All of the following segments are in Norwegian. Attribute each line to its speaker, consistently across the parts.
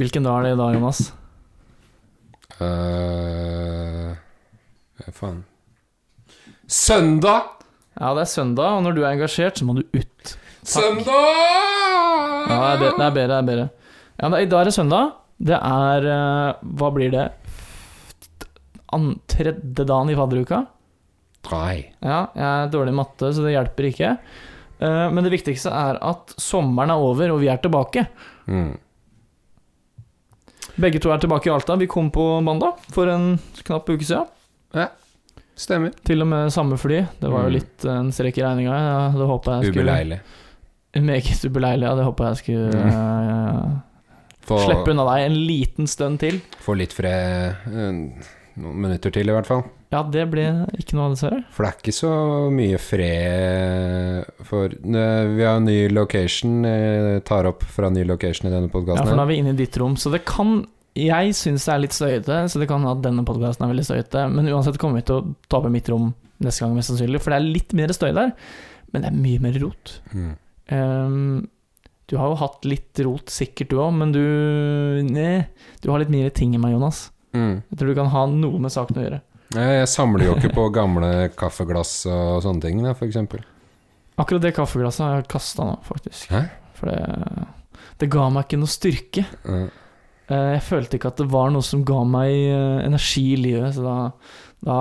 Speaker 1: Hvilken dag er det i dag, Jonas?
Speaker 2: Eh, ja, faen. Søndag!
Speaker 1: Ja, det er søndag, og når du er engasjert, så må du ut.
Speaker 2: Søndag!
Speaker 1: Ja, det er bedre. Det er bedre, det er bedre. Ja, det, er- I dag er det søndag. Det er eh, Hva blir det? An, tredje dagen i fadderuka?
Speaker 2: Nei.
Speaker 1: Ja, jeg er dårlig i matte, så det hjelper ikke. Eh, Men det viktigste er at sommeren er over, og vi er tilbake.
Speaker 2: Mm.
Speaker 1: Begge to er tilbake i Alta. Vi kom på mandag for en knapp uke siden.
Speaker 2: Stemmer.
Speaker 1: Til og med samme fly. Det var
Speaker 2: Mm.
Speaker 1: jo litt eh, en strek i regninga. Ja, det håpa jeg skulle
Speaker 2: Ubeleilig.
Speaker 1: Meget ubeleilig. Ja, det håpa jeg skulle eh,
Speaker 2: Få,
Speaker 1: slippe unna deg en liten stund til.
Speaker 2: få litt fred eh, noen minutter til, i hvert fall.
Speaker 1: Ja, det ble ikke noe av, dessverre.
Speaker 2: For det er ikke så mye fred for Nø, Vi har en ny location, eh, tar opp fra en ny location i denne
Speaker 1: Ja, for nå
Speaker 2: podkasten.
Speaker 1: er vi inne i ditt rom, så det kan Jeg syns det er litt støyete, så det kan hende at denne podkasten er veldig støyete, men uansett kommer vi til å ta opp i mitt rom neste gang, mest sannsynlig, for det er litt mer støy der, men det er mye mer rot.
Speaker 2: mm.
Speaker 1: Ehm, du har jo hatt litt rot, sikkert du òg, men du Nei, du har litt mer ting i meg, Jonas.
Speaker 2: Mm.
Speaker 1: Jeg tror du kan ha noe med saken å gjøre.
Speaker 2: Nei, Jeg samler jo ikke på gamle kaffeglass og sånne ting, da, for eksempel.
Speaker 1: Akkurat det kaffeglasset har jeg kasta nå, faktisk.
Speaker 2: Hæ?
Speaker 1: For det, det ga meg ikke noe styrke.
Speaker 2: Eh,
Speaker 1: Eh, Jeg følte ikke at det var noe som ga meg eh, energi i livet, så da, da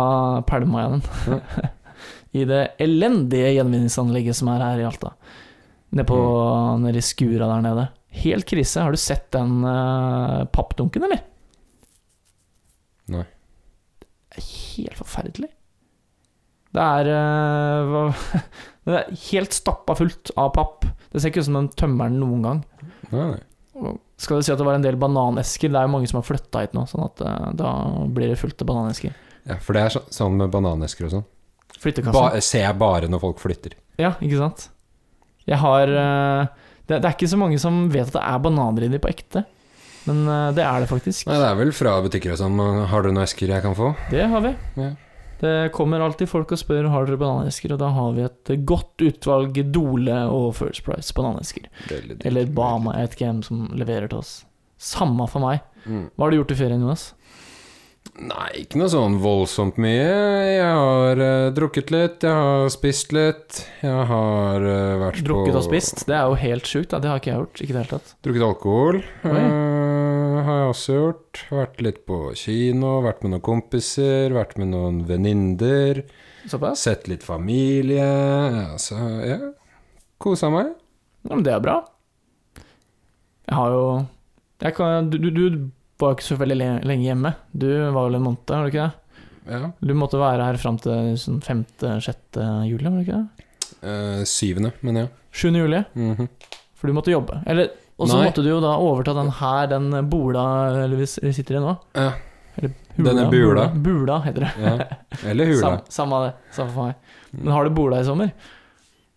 Speaker 1: pælma jeg den. I det elendige gjenvinningsanlegget som er her i Alta. Nede på, nede i skura der nede. Helt krise. Har du sett den eh, pappdunken, eller?
Speaker 2: Nei.
Speaker 1: Det er helt forferdelig. Det er eh, hva, Det er helt stappa fullt av papp. Det ser ikke ut som de tømmer den noen gang.
Speaker 2: Nei, nei.
Speaker 1: Skal det si at det var en del bananesker? Det er jo mange som har flytta hit nå, sånn at eh, da blir det fullt av bananesker.
Speaker 2: Ja, for det er så, sånn med bananesker og sånn.
Speaker 1: Flyttekasse.
Speaker 2: Ba, ser jeg bare når folk flytter.
Speaker 1: Ja, ikke sant? Jeg har eh, det, det er ikke så mange som vet at det er bananer i de på ekte, men eh, det er det faktisk.
Speaker 2: Nei, det er vel fra butikker og sånn. Har du noen esker jeg kan få?
Speaker 1: Det har vi.
Speaker 2: Ja.
Speaker 1: Det kommer alltid folk og spør har dere bananesker, og da har vi et godt utvalg Dole og First Price bananesker. Eller Bama, jeg vet ikke hvem som leverer til oss. Samme for meg.
Speaker 2: Mm.
Speaker 1: Hva har du gjort i ferien, Jonas?
Speaker 2: Nei, ikke noe sånn voldsomt mye. Jeg har eh, drukket litt, jeg har spist litt. Jeg har eh, vært på
Speaker 1: Drukket og spist? Det er jo helt sjukt, da. det har ikke jeg gjort. Ikke i det hele tatt.
Speaker 2: Drukket alkohol.
Speaker 1: Oi.
Speaker 2: eh, har jeg også gjort. Vært litt på kino, vært med noen kompiser, vært med noen venninner.
Speaker 1: Såpass?
Speaker 2: Sett litt familie. Altså, ja. Kosa meg.
Speaker 1: Ja, men det er bra. Jeg har jo jeg kan, du, du, du var jo ikke så veldig le- lenge hjemme. Du var vel en måned, var du ikke det?
Speaker 2: Ja.
Speaker 1: Du måtte være her fram til sånn 5.-6. juli, var du ikke det?
Speaker 2: Eh, syvende, men ja.
Speaker 1: 7. juli,
Speaker 2: Mhm.
Speaker 1: for du måtte jobbe. Eller, og så
Speaker 2: Nei.
Speaker 1: måtte du jo da overta den her, den bola eller vi s- vi sitter i nå.
Speaker 2: Ja.
Speaker 1: Eller
Speaker 2: Denne
Speaker 1: Bula,
Speaker 2: bula.
Speaker 1: bula heter det.
Speaker 2: ja. Eller hula.
Speaker 1: Sam, samme det. Samme for meg. Men har du bola i sommer?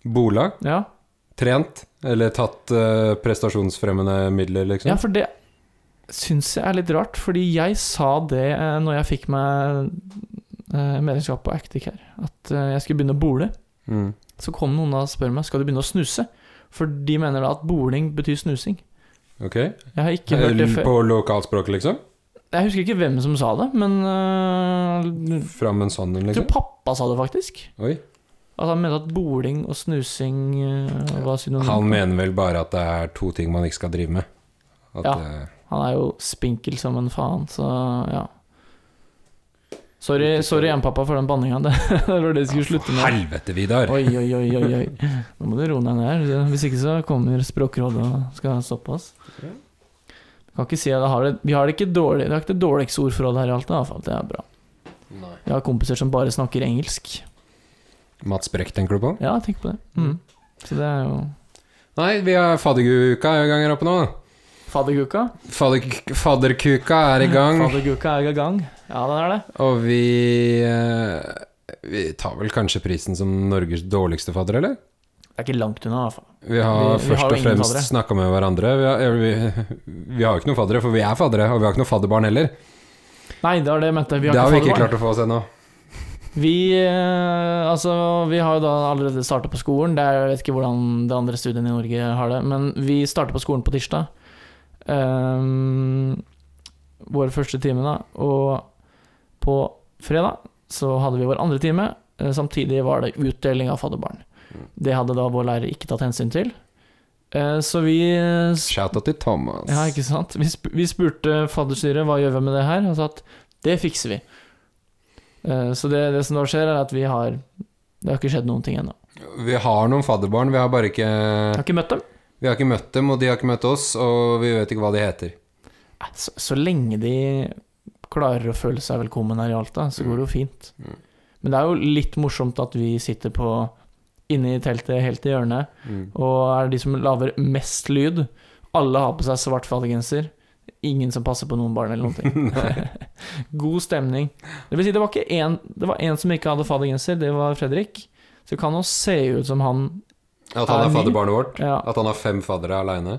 Speaker 2: Bola.
Speaker 1: Ja.
Speaker 2: Trent. Eller tatt eh, prestasjonsfremmende midler, liksom.
Speaker 1: Ja, for det syns jeg er litt rart, fordi jeg sa det eh, når jeg fikk meg eh, medlemskap på Actic her, at eh, jeg skulle begynne å bole.
Speaker 2: Mm.
Speaker 1: Så kom noen da og spør meg skal du begynne å snuse, for de mener da at boling betyr snusing.
Speaker 2: Ok.
Speaker 1: Jeg har ikke hørt det før.
Speaker 2: På lokalspråket, liksom?
Speaker 1: Jeg husker ikke hvem som sa det, men eh,
Speaker 2: Fram med sanden,
Speaker 1: jeg tror
Speaker 2: liksom?
Speaker 1: pappa sa det faktisk.
Speaker 2: Oi.
Speaker 1: At han mente at boling og snusing eh, var synonymt.
Speaker 2: Han mener vel bare at det er to ting man ikke skal drive med. At,
Speaker 1: Ja.
Speaker 2: eh,
Speaker 1: Han er jo spinkel som en faen, så ja. Sorry, sorry igjen, pappa, for den banninga. Det var det jeg skulle slutte med.
Speaker 2: Helvete, Vidar!
Speaker 1: Oi, oi, oi, oi, oi. Nå må du roe deg ned. her. Hvis ikke så kommer Språkrådet og skal stoppe oss. Jeg Kan ikke si at jeg har det. Vi har det ikke dårlig. Vi har ikke det dårligste ordforrådet her i Alta, i hvert fall. Det er bra.
Speaker 2: Nei.
Speaker 1: Vi har kompiser som bare snakker engelsk.
Speaker 2: Mats Brekk, tenker du på?
Speaker 1: Ja, tenk på det. Mm. Så det er jo
Speaker 2: Nei, vi har fadderkuka i gang her oppe nå.
Speaker 1: Fadderguka.
Speaker 2: Fadder, fadderkuka er i gang,
Speaker 1: Fadderguka er i gang. Ja, den er det.
Speaker 2: og vi eh, Vi tar vel kanskje prisen som Norges dårligste fadder, eller?
Speaker 1: Det er ikke langt unna, i hvert fall.
Speaker 2: Vi har
Speaker 1: Vi- vi
Speaker 2: først
Speaker 1: har jo
Speaker 2: og
Speaker 1: ingen
Speaker 2: fremst
Speaker 1: faddere.
Speaker 2: snakka med hverandre. Vi har, eller vi, vi har jo ikke noen faddere, for vi er faddere, og vi har ikke noen fadderbarn heller.
Speaker 1: Nei, det var det jeg mente. Vi
Speaker 2: det har vi ikke
Speaker 1: fadderbarn.
Speaker 2: klart å få oss ennå.
Speaker 1: Vi, eh, altså, vi har jo da allerede starta på skolen. Det er, jeg vet ikke hvordan de andre studiene i Norge har det, men vi starter på skolen på tirsdag. ehm, vår første time, da. Og på fredag så hadde vi vår andre time. Eh, Samtidig var det utdeling av fadderbarn. Det hadde da vår lærer ikke tatt hensyn til. Eh, Så vi eh, s-
Speaker 2: Shout-out til Thomas.
Speaker 1: ja, ikke sant? Vi, sp vi spurte fadderstyret hva gjør vi med det her, og sa at det fikser vi. Eh, Så det, det som da skjer, er at vi har Det har ikke skjedd noen ting ennå.
Speaker 2: Vi har noen fadderbarn, vi har bare ikke
Speaker 1: Jeg har ikke møtt dem.
Speaker 2: Vi har ikke møtt dem, og de har ikke møtt oss, og vi vet ikke hva de heter.
Speaker 1: Nei, Så, så lenge de klarer å føle seg velkommen her i Alta, så går det jo fint.
Speaker 2: Mm.
Speaker 1: Men det er jo litt morsomt at vi sitter på inne i teltet helt i hjørnet,
Speaker 2: Mm.
Speaker 1: og er de som lager mest lyd. Alle har på seg svart faddergenser. Ingen som passer på noen barn eller noen ting. God stemning. Det vil si, det var ikke én Det var én som ikke hadde faddergenser, det var Fredrik. Så det kan jo se ut som han
Speaker 2: At han
Speaker 1: Er
Speaker 2: er
Speaker 1: ny?
Speaker 2: fadderbarnet vårt.
Speaker 1: ja,
Speaker 2: At han har fem faddere aleine.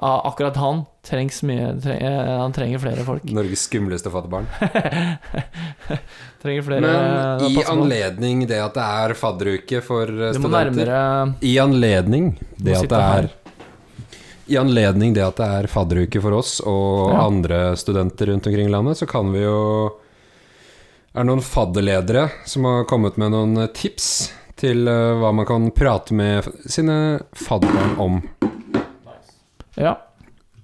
Speaker 1: ah, Akkurat han trengs mye tre, eh, Han trenger flere folk.
Speaker 2: Norges skumleste fadderbarn.
Speaker 1: trenger flere
Speaker 2: Men
Speaker 1: eh,
Speaker 2: i
Speaker 1: passer på.
Speaker 2: anledning det at det er fadderuke for eh,
Speaker 1: Du må
Speaker 2: studenter
Speaker 1: nærmere
Speaker 2: I anledning det at
Speaker 1: sitte
Speaker 2: det
Speaker 1: her.
Speaker 2: er I anledning det at det er fadderuke for oss og
Speaker 1: Ja.
Speaker 2: andre studenter rundt omkring i landet, så kan vi jo Er det noen fadderledere som har kommet med noen eh, tips til eh, hva man kan prate med f- sine fadderbarn om?
Speaker 1: Ja.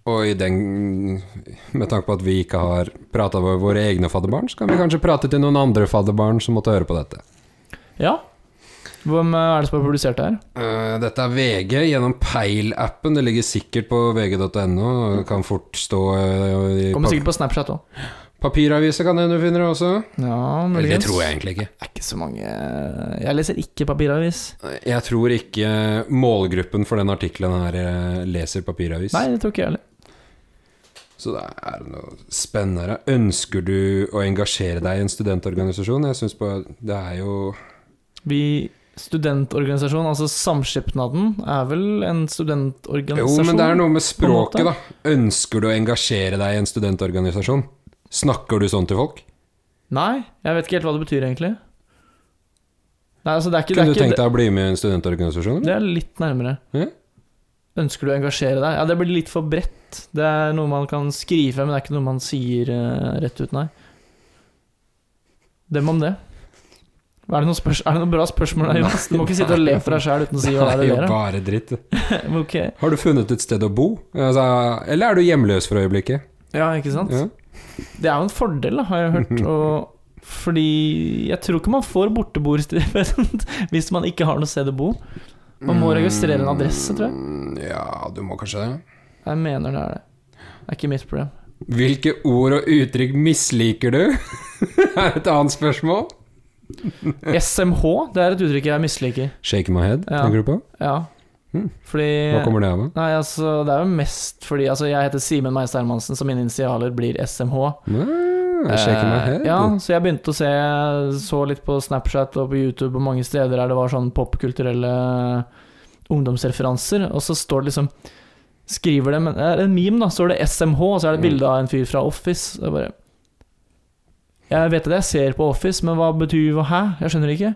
Speaker 2: Og i den Med tanke på at vi ikke har prata med våre egne fadderbarn, så kan vi kanskje prate til noen andre fadderbarn som måtte høre på dette.
Speaker 1: ja. Hvem eh, er det som har publisert det her?
Speaker 2: Eh, dette er VG gjennom Peil-appen. Det ligger sikkert på vg.no. og Kan fort stå eh, i
Speaker 1: Mm. Kommer
Speaker 2: pa
Speaker 1: sikkert på Snapchat òg.
Speaker 2: papiraviser, kan hende du finner det også.
Speaker 1: Ja,
Speaker 2: Eller det
Speaker 1: muligens.
Speaker 2: tror jeg egentlig ikke. eh,
Speaker 1: Det er ikke så mange Jeg leser ikke papiravis.
Speaker 2: Jeg tror ikke målgruppen for den artikkelen her eh, leser papiravis.
Speaker 1: Nei, det tror ikke jeg heller.
Speaker 2: Så det er noe spennende her. Ønsker du å engasjere deg i en studentorganisasjon? Jeg syns på Det er jo
Speaker 1: Vi Studentorganisasjon, altså Samskipnaden, er vel en
Speaker 2: Jo,
Speaker 1: studentorganisasjon?
Speaker 2: men det er noe med
Speaker 1: på en måte.
Speaker 2: språket, da. Ønsker du å engasjere deg i en studentorganisasjon? Snakker du sånn til folk?
Speaker 1: Nei, jeg vet ikke helt hva det betyr, egentlig. Nei, altså, det er ikke, det
Speaker 2: Kunne
Speaker 1: er
Speaker 2: du
Speaker 1: ikke
Speaker 2: tenkt deg å bli med i en studentorganisasjon?
Speaker 1: Det er litt nærmere.
Speaker 2: Ja.
Speaker 1: Ønsker du å engasjere deg? Ja, det blir litt for bredt. Det er noe man kan skrive, men det er ikke noe man sier eh, rett ut, nei. Dem om det. Er det noen, spørs er det noen bra spørsmål der, Jonas? Du må ikke sitte og le for deg sjæl uten å si hva det
Speaker 2: Det
Speaker 1: er
Speaker 2: er
Speaker 1: du
Speaker 2: jo
Speaker 1: ler av.
Speaker 2: bare dritt.
Speaker 1: Ok.
Speaker 2: Har du funnet et sted å bo? Altså, eller er du hjemløs for øyeblikket?
Speaker 1: Ja, ikke sant?
Speaker 2: Ja.
Speaker 1: Det er jo en fordel, da, har jeg hørt. Og fordi jeg tror ikke man får borteboerstipend hvis man ikke har noe sted å bo. Man må registrere en adresse, tror jeg.
Speaker 2: Mm, Ja, du må kanskje det.
Speaker 1: Jeg mener det er det. Det er ikke mitt problem.
Speaker 2: Hvilke ord og uttrykk misliker du? er et annet spørsmål.
Speaker 1: SMH, det er et uttrykk jeg misliker.
Speaker 2: Shake my head,
Speaker 1: Ja.
Speaker 2: tenker du på?
Speaker 1: Ja.
Speaker 2: Mm.
Speaker 1: Fordi
Speaker 2: Hva kommer det av? da?
Speaker 1: Nei, altså, det er jo mest fordi Altså, jeg heter Simen Meister Hermansen, så mine initialer blir SMH.
Speaker 2: Ah, shake my
Speaker 1: Eh,
Speaker 2: head.
Speaker 1: ja, så jeg begynte å se Så litt på Snapchat og på YouTube og mange steder der det var sånn popkulturelle ungdomsreferanser, og så står det liksom Skriver det, men det er en meme, da. Står det SMH, og så er det
Speaker 2: Mm.
Speaker 1: bilde av en fyr fra Office. Så jeg bare Jeg vet at jeg ser på Office, men hva betyr hva? Hæ? Jeg skjønner ikke.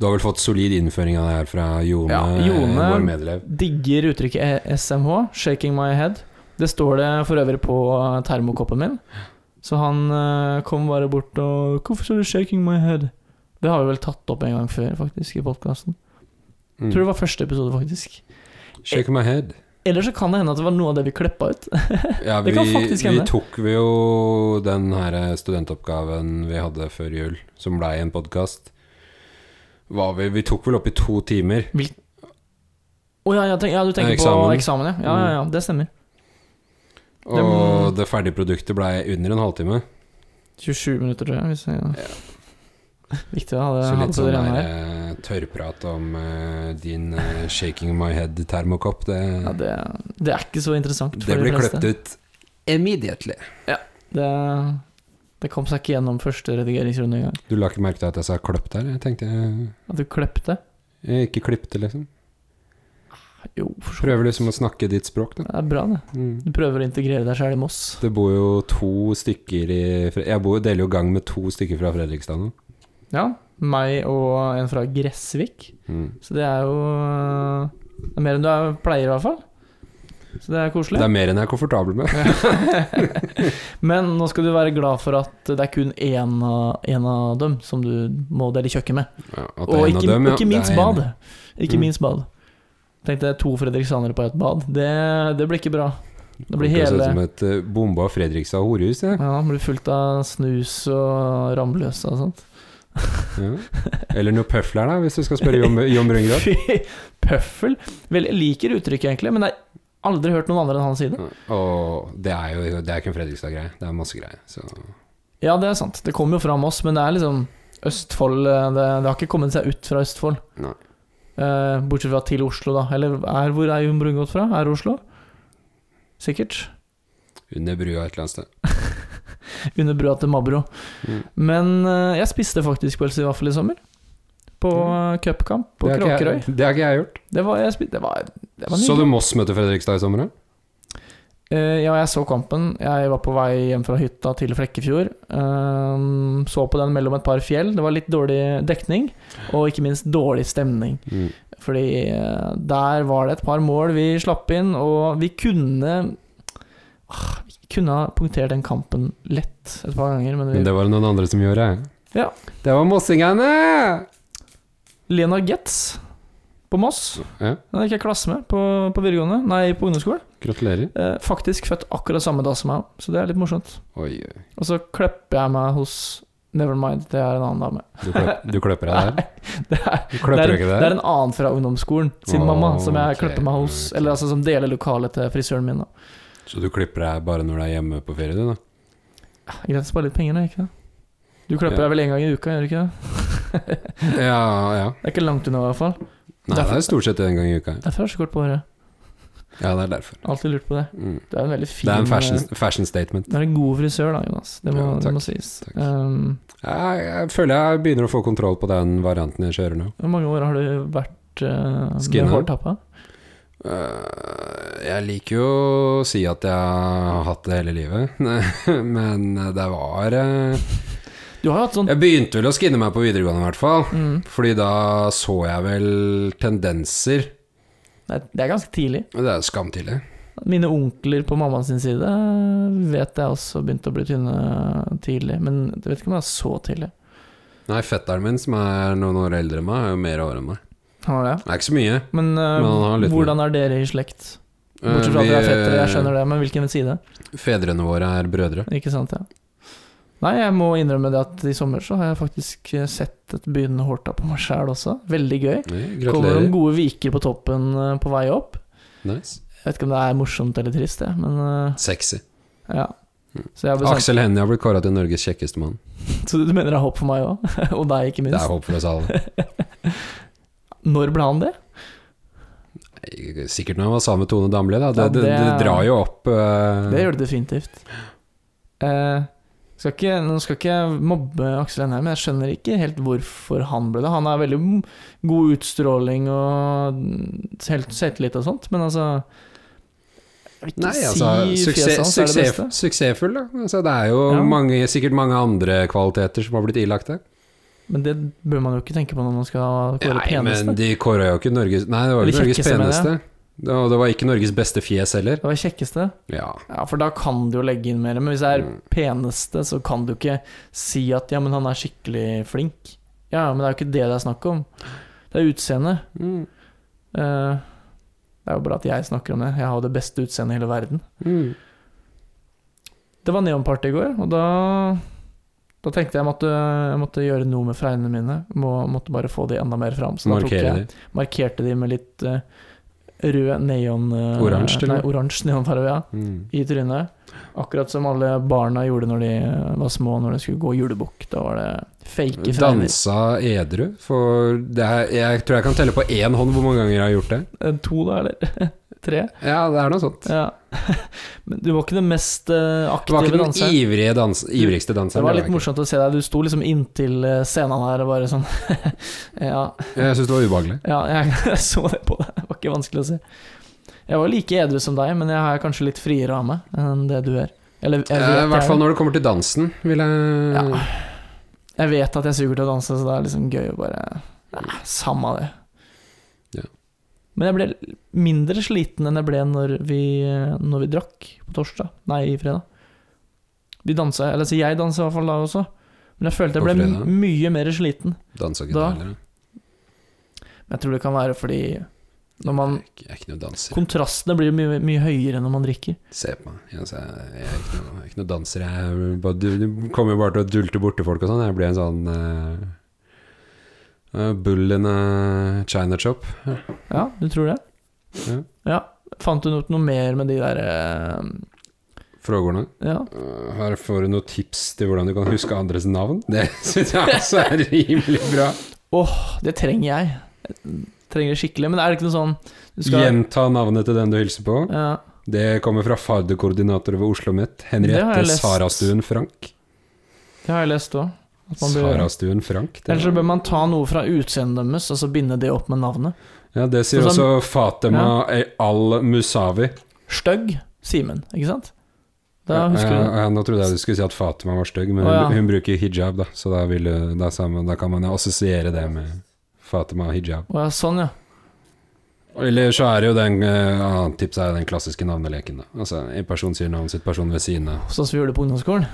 Speaker 2: Du har vel fått solid innføring av det her fra Jone,
Speaker 1: Ja,
Speaker 2: eh,
Speaker 1: Jone.
Speaker 2: vår medelev.
Speaker 1: Digger uttrykket eh, SMH, shaking my head. Det står det for øvrig på eh, termokoppen min. Så han eh, kom bare bort og 'Hvorfor sa du 'shaking my head'? Det har vi vel tatt opp en gang før, faktisk, i podkasten.
Speaker 2: Mm.
Speaker 1: Tror det var første episode, faktisk.
Speaker 2: Shake my head.
Speaker 1: Eller så kan det hende at det var noe av det vi klippa ut.
Speaker 2: Ja,
Speaker 1: Det
Speaker 2: vi,
Speaker 1: kan faktisk
Speaker 2: vi
Speaker 1: hende.
Speaker 2: tok vi jo den her eh, studentoppgaven vi hadde før jul, som blei en podkast. Vi, vi tok vel opp i to timer.
Speaker 1: Mm. Å ja, ja, tenk, ja, du tenker på
Speaker 2: Eksamen. Mm.
Speaker 1: eksamen, ja. ja. Ja, ja, det stemmer.
Speaker 2: Og det ferdige produktet blei under en halvtime.
Speaker 1: 27 minutter, tror jeg. Hvis jeg Viktig å ha det,
Speaker 2: Så
Speaker 1: ha det
Speaker 2: litt
Speaker 1: på
Speaker 2: sånn
Speaker 1: det rene
Speaker 2: der,
Speaker 1: her.
Speaker 2: eh, tørrprat om eh, din eh, 'shaking my head'-termokopp, det,
Speaker 1: Ja, det, det er ikke så interessant for
Speaker 2: det
Speaker 1: de
Speaker 2: ble
Speaker 1: fleste.
Speaker 2: kløpt ut immediately.
Speaker 1: Det, det kom seg ikke gjennom første redigeringsrunde engang.
Speaker 2: Du la ikke merke til at jeg sa 'kløpt' her? Jeg tenkte jeg,
Speaker 1: At du klepte?
Speaker 2: jeg ikke klipte, liksom.
Speaker 1: Jo, for så vidt.
Speaker 2: Prøver liksom å snakke ditt språk, da.
Speaker 1: Det er bra, det.
Speaker 2: Mm.
Speaker 1: Du prøver å integrere deg sjøl i Moss.
Speaker 2: Det bor jo to stykker i Fre- Jeg bor, deler jo gang med to stykker fra Fredrikstad nå.
Speaker 1: Ja. Meg og en fra Gressvik.
Speaker 2: Mm.
Speaker 1: eh, Så det er jo øh, det er mer enn du er- pleier, i hvert fall. Så det er
Speaker 2: Det
Speaker 1: koselig.
Speaker 2: er mer enn jeg er komfortabel med.
Speaker 1: Men nå skal du være glad for at det er kun én av, en av dem som du må dele kjøkken med.
Speaker 2: Ja, at det er
Speaker 1: Og
Speaker 2: en av
Speaker 1: ikke,
Speaker 2: dem, ja.
Speaker 1: ikke minst
Speaker 2: Det er en-
Speaker 1: bad. Ikke
Speaker 2: Mm.
Speaker 1: minst bad. Tenkte jeg to fredriksanere på ett bad. Det, det blir ikke bra. Det blir
Speaker 2: Kommer til å se ut
Speaker 1: hele
Speaker 2: Som et eh, bomba Fredrikstad horehus, jeg.
Speaker 1: Ja, han blir fullt av snus og ramløse og sånt.
Speaker 2: Ja. Eller noe pøfler, da, hvis du skal spørre Jon Jon Brungrad.
Speaker 1: Fy, pøffel. Vel, jeg liker uttrykket egentlig, men jeg har aldri hørt noen andre enn han si det.
Speaker 2: Ja, Og det er jo det er ikke en Fredrikstad-greie. Det er masse greier. Så
Speaker 1: Ja, det er sant. Det kommer jo fra Moss, men det er liksom Østfold eh, Det, det har ikke kommet seg ut fra Østfold.
Speaker 2: Nei.
Speaker 1: Eh, bortsett fra til Oslo, da. Eller er, hvor er Jon Brungot fra? Er Oslo? Sikkert.
Speaker 2: under brua et eller annet sted.
Speaker 1: Under brua til Mabro.
Speaker 2: Mm.
Speaker 1: Men eh, jeg spiste faktisk pølse i vaffel i sommer. På eh, cupkamp på
Speaker 2: Mm. det, har ikke
Speaker 1: Kråkerøy.
Speaker 2: jeg, det har ikke jeg gjort.
Speaker 1: Det var, jeg spi- det var, det var
Speaker 2: Så
Speaker 1: nydelig.
Speaker 2: du Moss møtte Fredrikstad i sommer, da?
Speaker 1: Eh, ja, jeg så kampen. Jeg var på vei hjem fra hytta til Flekkefjord. Ehm, så på den mellom et par fjell. Det var litt dårlig dekning, og ikke minst dårlig stemning.
Speaker 2: Mm.
Speaker 1: Fordi eh, der var det et par mål vi slapp inn, og vi kunne ah, Vi kunne ha punktert den kampen lett et par ganger, men vi
Speaker 2: Men det var det noen andre som gjorde.
Speaker 1: Ja.
Speaker 2: Det var mossingene!
Speaker 1: Lena Getz på Moss,
Speaker 2: Ja,
Speaker 1: den gikk jeg klasse med på, på videregående, nei, på ungdomsskolen.
Speaker 2: gratulerer.
Speaker 1: Eh, faktisk født akkurat samme dag som meg, så det er litt morsomt.
Speaker 2: Oi, oi.
Speaker 1: Og så klipper jeg meg hos Nevermind, det er en annen dame.
Speaker 2: Du, kløp, du kløper deg der?
Speaker 1: Det er,
Speaker 2: Du
Speaker 1: det,
Speaker 2: kløper
Speaker 1: er,
Speaker 2: ikke
Speaker 1: det er
Speaker 2: der?
Speaker 1: en annen fra ungdomsskolen sin
Speaker 2: Åh,
Speaker 1: mamma som jeg
Speaker 2: ok,
Speaker 1: klipper meg hos.
Speaker 2: ok.
Speaker 1: Eller altså som deler lokalet til frisøren min. da.
Speaker 2: Så du klipper deg bare når du er hjemme på ferie, du, da?
Speaker 1: Ja, Ah, Greit å spare litt penger, da. ikke det? Du klipper
Speaker 2: Ja.
Speaker 1: deg vel én gang i uka, gjør du ikke det?
Speaker 2: Ja, ja.
Speaker 1: Det er ikke langt unna, i hvert fall.
Speaker 2: Nei, det er stort sett en gang i uka.
Speaker 1: Derfor er det så kort på håret.
Speaker 2: Ja, det er derfor.
Speaker 1: Alltid lurt på det.
Speaker 2: Mm.
Speaker 1: Du er en veldig fin
Speaker 2: Det er en fashion,
Speaker 1: eh,
Speaker 2: fashion statement.
Speaker 1: Du er en god frisør, da, Jonas. Det må,
Speaker 2: Ja,
Speaker 1: det
Speaker 2: takk,
Speaker 1: må sies.
Speaker 2: takk.
Speaker 1: Um,
Speaker 2: Jeg, jeg føler jeg begynner å få kontroll på den varianten jeg kjører nå.
Speaker 1: hvor mange år har du vært uh,
Speaker 2: Skinner.
Speaker 1: med hårtappa?
Speaker 2: Eh, Jeg liker jo å si at jeg har hatt det hele livet, men det var eh,
Speaker 1: Du har jo hatt sånn
Speaker 2: Jeg begynte vel å skinne meg på videregående, i hvert fall.
Speaker 1: mm,
Speaker 2: Fordi da så jeg vel tendenser
Speaker 1: nei, Det er ganske tidlig.
Speaker 2: Det er skamtidlig.
Speaker 1: Mine onkler på mammaen sin side vet jeg også begynte å bli tynne tidlig, men jeg vet ikke om det er så tidlig.
Speaker 2: Nei, fetteren min, som er noen år eldre enn meg, er jo mer år enn meg.
Speaker 1: Har det?
Speaker 2: Det er ikke så mye.
Speaker 1: Men, eh,
Speaker 2: Men han har litt
Speaker 1: hvordan er dere i slekt?
Speaker 2: Eh,
Speaker 1: Bortsett fra at
Speaker 2: vi, eh,
Speaker 1: dere er fettere, jeg skjønner det, men hvilken side?
Speaker 2: Fedrene våre er brødre.
Speaker 1: Ikke sant, ja. Nei, jeg må innrømme det at i sommer så har jeg faktisk eh, sett et begynnende hårtap på meg sjæl også. Veldig gøy.
Speaker 2: Nei,
Speaker 1: Kommer
Speaker 2: gratulerer.
Speaker 1: noen gode viker på toppen eh, på vei opp.
Speaker 2: Nice.
Speaker 1: Jeg vet ikke om det er morsomt eller trist, jeg, men eh,
Speaker 2: Sexy.
Speaker 1: ja.
Speaker 2: Mm.
Speaker 1: Så, jeg har bestemt,
Speaker 2: Aksel Hennie har blitt kåra til Norges kjekkeste mann.
Speaker 1: så du mener det er håp for meg òg? Og deg, ikke
Speaker 2: Det er
Speaker 1: minst.
Speaker 2: håp for oss alle.
Speaker 1: Når ble han det?
Speaker 2: Nei, Sikkert når han var sammen med Tone Damli, da. Det,
Speaker 1: Ja,
Speaker 2: det, det,
Speaker 1: det-
Speaker 2: drar jo opp eh,
Speaker 1: Det gjør det definitivt. Eh, skal ikke, nå skal ikke jeg mobbe Aksel Hennie, men jeg skjønner ikke helt hvorfor han ble det. Han har veldig m- god utstråling og selv- selvtillit og sånt, men altså Jeg vil ikke
Speaker 2: Nei, altså,
Speaker 1: si fjeset
Speaker 2: suksess,
Speaker 1: hans er det
Speaker 2: suksess,
Speaker 1: beste.
Speaker 2: suksessfull, da. Altså, det er jo
Speaker 1: Ja.
Speaker 2: mange, sikkert mange andre kvaliteter som har blitt ilagt det.
Speaker 1: Men det bør man jo ikke tenke på når man skal kåre
Speaker 2: Nei,
Speaker 1: peneste.
Speaker 2: men de kåra jo ikke Norges Nei, det var jo
Speaker 1: Eller
Speaker 2: ikke Norges
Speaker 1: kjekkeste, mener jeg.
Speaker 2: peneste. Det var- det var ikke Norges beste fjes heller.
Speaker 1: Det var kjekkeste.
Speaker 2: Ja.
Speaker 1: Ja, for da kan du jo legge inn mer. Men hvis det er
Speaker 2: Mm.
Speaker 1: peneste, så kan du ikke si at ja, men han er skikkelig flink. Ja, men det er jo ikke det det er snakk om. Det er utseendet.
Speaker 2: Mm.
Speaker 1: Eh, Det er jo bra at jeg snakker om det. Jeg har jo det beste utseendet i hele verden.
Speaker 2: Mm.
Speaker 1: Det var neonparty i går, og da da tenkte jeg måtte, jeg måtte gjøre noe med fregnene mine. Må, måtte bare få de enda mer fram. Så da tok
Speaker 2: Markere
Speaker 1: jeg,
Speaker 2: de.
Speaker 1: markerte de med litt eh, rød neon... eh,
Speaker 2: Oransje, eller?
Speaker 1: Nei, oransje neonfarge, ja.
Speaker 2: Mm.
Speaker 1: I trynet. Akkurat som alle barna gjorde når de eh, var små, når de skulle gå julebukk. Da var det fake fregner.
Speaker 2: Dansa edru, for det er, jeg tror jeg kan telle på én hånd hvor mange ganger jeg har gjort det.
Speaker 1: Eh, To, da, eller? Tre?
Speaker 2: Ja, det er noe sånt.
Speaker 1: Ja. Men du var ikke den mest eh,
Speaker 2: Det var
Speaker 1: aktive
Speaker 2: ikke den
Speaker 1: danseren.
Speaker 2: ivrige dans, ivrigste
Speaker 1: Det
Speaker 2: danseren.
Speaker 1: var
Speaker 2: det
Speaker 1: litt
Speaker 2: var jeg
Speaker 1: morsomt å se deg. Du sto liksom inntil eh, scenen her og bare sånn ja,
Speaker 2: ikke. Jeg syns det var ubehagelig.
Speaker 1: ja, jeg så det på deg. Det var ikke vanskelig å se. Jeg var like edru som deg, men jeg er kanskje litt friere av meg enn det du er. Eller jeg vet,
Speaker 2: Eh, I hvert fall
Speaker 1: jeg,
Speaker 2: når det kommer til dansen, vil jeg
Speaker 1: Ja. jeg vet at jeg suger til å danse, så det er liksom gøy å bare Nei, Samme det.
Speaker 2: Ja.
Speaker 1: Men jeg ble mindre sliten enn jeg ble når vi, eh, når vi drakk på torsdag. Nei, fredag. Vi dansa, eller altså jeg dansa i hvert fall da også. Men jeg følte jeg
Speaker 2: På
Speaker 1: ble
Speaker 2: fredag?
Speaker 1: m- mye mer sliten.
Speaker 2: Dansa ikke du
Speaker 1: Da-
Speaker 2: heller?
Speaker 1: Men jeg tror det kan være fordi når man,
Speaker 2: Jeg er ikke- jeg er ikke noe danser.
Speaker 1: kontrastene blir mye, mye høyere når man drikker.
Speaker 2: Se på meg. Jeg, jeg, jeg, er ikke noe, jeg er ikke noe danser. Jeg er bare, du, du kommer jo bare til å dulte borti folk og sånn. Jeg blir en sånn eh, eh, bull in a china chop.
Speaker 1: Ja, du tror det?
Speaker 2: Ja.
Speaker 1: Fant du ut noe mer med de der eh,
Speaker 2: Frågorna.
Speaker 1: Ja.
Speaker 2: Eh, her får du noen tips til hvordan du kan huske andres navn. Det syns jeg også er rimelig bra.
Speaker 1: Det trenger jeg. jeg trenger det skikkelig. Men er det ikke noe sånn du
Speaker 2: Gjenta navnet til den du hilser på.
Speaker 1: ja,
Speaker 2: Det kommer fra fardekoordinator ved Oslo Met,
Speaker 1: Det har
Speaker 2: Henriette
Speaker 1: jeg lest.
Speaker 2: Sarastuen Frank.
Speaker 1: Det har jeg lest òg.
Speaker 2: Sarastuen Frank. det-
Speaker 1: Eller så bør man ta noe fra utseendet deres, og så binde det opp med navnet.
Speaker 2: Ja, det sier
Speaker 1: Sånn som-
Speaker 2: også Fatima al-Musavi.
Speaker 1: Støgg Simen, ikke sant? Da husker
Speaker 2: ja,
Speaker 1: du det.
Speaker 2: ja, nå trodde jeg du skulle si at Fatima var stygg, men
Speaker 1: Å, ja.
Speaker 2: hun, hun bruker hijab, da, så da, vil, hun- da, sammen, da kan man jo assosiere det med Fatima og hijab.
Speaker 1: Å ja, sånn, ja.
Speaker 2: Eller så er det jo den eh, annet tips er jo den klassiske navneleken. Da. Altså, En person sier navnet sitt, personen ved siden av.
Speaker 1: Sånn som vi gjorde på ungdomsskolen.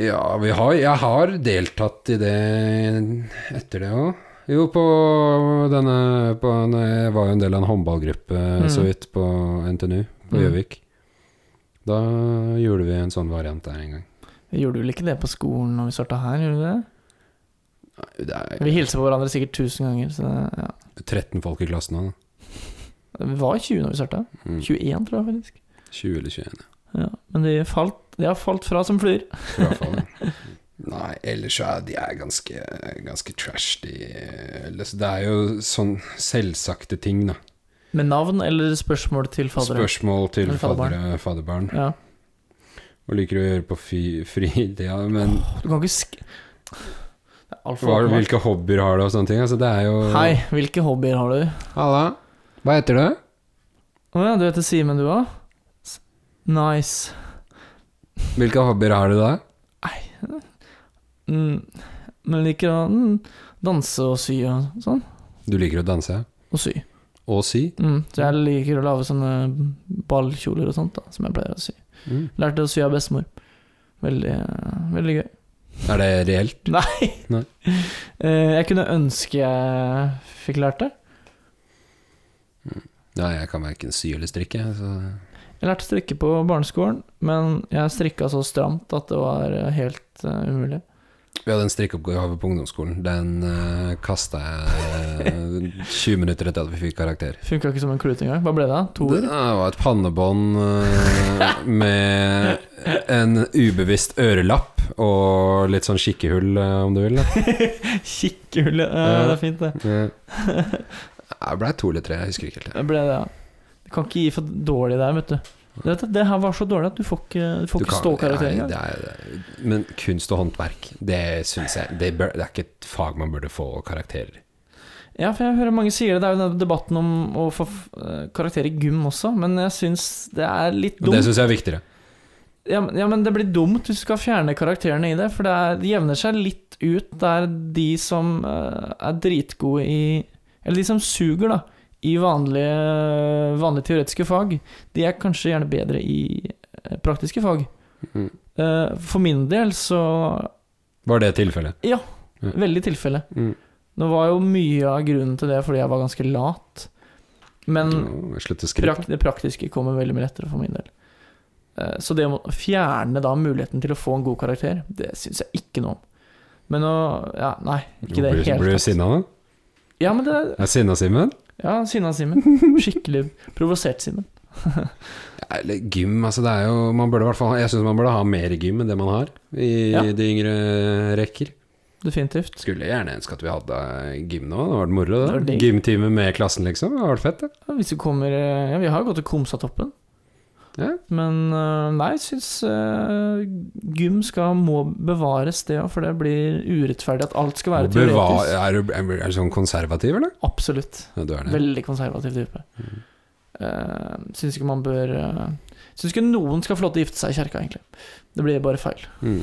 Speaker 2: Ja, vi har, jeg har deltatt i det etter det òg. Jo, på denne på en, Jeg var jo en del av en håndballgruppe
Speaker 1: Mm.
Speaker 2: så vidt på NTNU på
Speaker 1: Mm.
Speaker 2: Gjøvik. Da gjorde vi en sånn variant der en gang.
Speaker 1: Vi gjorde vel ikke det på skolen når vi starta her? gjorde Vi det?
Speaker 2: Det
Speaker 1: Vi
Speaker 2: er
Speaker 1: hilste på hverandre sikkert tusen ganger. Så det, ja.
Speaker 2: 13 folk i klassen nå. da.
Speaker 1: Vi var 20 når vi starta.
Speaker 2: Mm.
Speaker 1: 21, tror jeg faktisk.
Speaker 2: 20 eller 21.
Speaker 1: Ja. Men de, falt, de har falt fra som flyr.
Speaker 2: Frafall. Nei, ellers så er de er ganske, ganske trash, de Eller så Det er jo sånn selvsagte ting, da.
Speaker 1: Med navn eller spørsmål til faddere?
Speaker 2: Spørsmål til
Speaker 1: Eller fadderbarn.
Speaker 2: faddere, fadderbarn.
Speaker 1: Ja.
Speaker 2: Hva liker du å gjøre på fi, fritida? Men
Speaker 1: Du kan ikke sk... Det er altfor
Speaker 2: hva, hvilke hobbyer har du og sånne ting? Altså, det er jo
Speaker 1: Hei, hvilke hobbyer har du?
Speaker 2: Halla. Hva heter du?
Speaker 1: Å ja, du heter Simen, du òg? Nice.
Speaker 2: Hvilke hobbyer har du da?
Speaker 1: Mm. Men liker å mm, danse og sy og sånn.
Speaker 2: Du liker å danse
Speaker 1: Og sy.
Speaker 2: og sy.
Speaker 1: Mm. Så jeg liker å lage sånne ballkjoler og sånt, da, som jeg pleier å sy. Lærte å sy av bestemor. Veldig, eh, veldig gøy.
Speaker 2: Er det reelt?
Speaker 1: Nei.
Speaker 2: Nei.
Speaker 1: Eh, Jeg kunne ønske jeg fikk lært det.
Speaker 2: Nei, jeg kan verken sy eller strikke. Så.
Speaker 1: Jeg lærte å strikke på barneskolen, men jeg strikka så stramt at det var eh, helt eh, umulig.
Speaker 2: Vi hadde en strikkeoppgave på ungdomsskolen. Den uh, kasta jeg eh, 20 minutter etter at vi fikk karakter.
Speaker 1: Funka ikke som en klut engang. Hva ble det? av? To
Speaker 2: Det
Speaker 1: ord?
Speaker 2: var et pannebånd eh, med en ubevisst ørelapp og litt sånn skikkehull, eh, om du vil. Da.
Speaker 1: Kikkehull, ja,
Speaker 2: Ja.
Speaker 1: Eh, det er fint, det.
Speaker 2: Det ble to eller tre, jeg husker ikke helt.
Speaker 1: Det ble det, ja. Du kan ikke gi for dårlig der, vet du. Du vet at Det her var så dårlig at du får ikke, du får
Speaker 2: Du
Speaker 1: ikke
Speaker 2: kan-
Speaker 1: ståkarakter
Speaker 2: nei,
Speaker 1: engang.
Speaker 2: det er- Men kunst og håndverk, det syns jeg det, bør, det er ikke et fag man burde få karakterer.
Speaker 1: Ja, for jeg hører mange sier det. Det er jo den debatten om å få f- eh, karakter i gym også, men jeg syns det er litt
Speaker 2: Og det
Speaker 1: dumt.
Speaker 2: syns jeg er viktigere.
Speaker 1: Ja, men- ja, men det blir dumt hvis du skal fjerne karakterene i det, for det, er, det jevner seg litt ut der de som eh, er dritgode i Eller de som suger, da, i vanlige, vanlige teoretiske fag, de er kanskje gjerne bedre i eh, praktiske fag.
Speaker 2: Mhm.
Speaker 1: Eh, for min del så
Speaker 2: Var det tilfellet?
Speaker 1: Veldig tilfelle.
Speaker 2: Mm.
Speaker 1: Det var jo mye av grunnen til det fordi jeg var ganske lat. Men
Speaker 2: Nå, jeg slutter å skrike.
Speaker 1: Prak det praktiske kommer veldig mye lettere for min del. Eh, Så det å fjerne da muligheten til å få en god karakter, det syns jeg ikke noe om. Men å Ja, nei, ikke det i
Speaker 2: Blir-
Speaker 1: det hele
Speaker 2: Blir du
Speaker 1: tatt.
Speaker 2: sinna nå?
Speaker 1: Ja, men det
Speaker 2: Er sinna, Simen?
Speaker 1: Ja, sinna Simen. Skikkelig provosert Simen.
Speaker 2: Ja, Eller gym, altså det er jo man burde, i hvert fall, Jeg syns man burde ha mer gym enn det man har i
Speaker 1: Ja.
Speaker 2: de yngre rekker.
Speaker 1: Definitivt.
Speaker 2: Skulle gjerne ønske at vi hadde gym nå. Det hadde vært moro.
Speaker 1: Det var
Speaker 2: da.
Speaker 1: digg.
Speaker 2: Gymtime med klassen, liksom. Det hadde vært fett. det
Speaker 1: Ja, Hvis du kommer eh, Ja, vi har jo gått til Komsatoppen.
Speaker 2: Ja.
Speaker 1: Men eh, nei, jeg syns eh, gym skal må bevares, det òg, for det blir urettferdig at alt skal være
Speaker 2: Og bevar-
Speaker 1: teoretisk.
Speaker 2: Er du, er du sånn konservativ, eller?
Speaker 1: Absolutt.
Speaker 2: Ja, du er det.
Speaker 1: Veldig konservativ type. Mm. syns ikke man bør uh, Syns ikke noen skal få lov til å gifte seg i kjerka, egentlig. Det blir bare feil.
Speaker 2: Mm.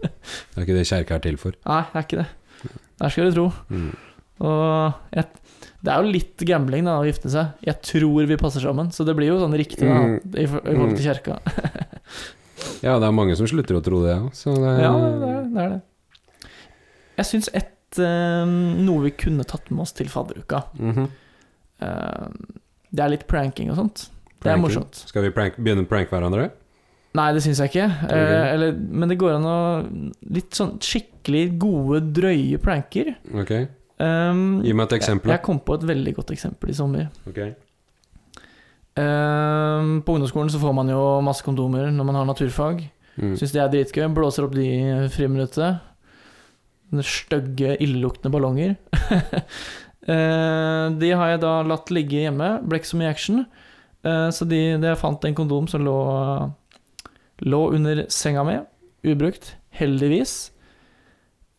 Speaker 2: Det er ikke det kjerka er til for.
Speaker 1: Nei, det er ikke det. Der skal du tro.
Speaker 2: Mm.
Speaker 1: Og jeg, det er jo litt gambling da, å gifte seg. Jeg tror vi passer sammen, så det blir jo sånn riktig da,
Speaker 2: Mm.
Speaker 1: i, for- i forhold til kirka.
Speaker 2: Ja, det er mange som slutter å tro det òg, så det
Speaker 1: Ja, det er det. Er det. Jeg syns et eh, Noe vi kunne tatt med oss til fadderuka
Speaker 2: Mhm.
Speaker 1: eh, Det er litt pranking og sånt. Det er
Speaker 2: Pranking.
Speaker 1: morsomt.
Speaker 2: Skal vi prank, begynne å pranke hverandre?
Speaker 1: Nei, det syns jeg ikke.
Speaker 2: Tror du
Speaker 1: Eh,
Speaker 2: det?
Speaker 1: eller, men det går an å Litt sånn skikkelig gode, drøye pranker.
Speaker 2: Ok,
Speaker 1: Um,
Speaker 2: Gi meg et eksempel.
Speaker 1: Jeg, jeg kom på et veldig godt eksempel i sommer.
Speaker 2: Ok.
Speaker 1: Ehm, på ungdomsskolen så får man jo masse kondomer når man har naturfag.
Speaker 2: Mm.
Speaker 1: Syns det er dritgøy. Blåser opp de i friminuttet. Sånne Stygge, illeluktende ballonger. Eh, de har jeg da latt ligge hjemme. Ble ikke så mye action. Eh, så de, det jeg fant en kondom som lå, lå under senga mi, ubrukt, heldigvis.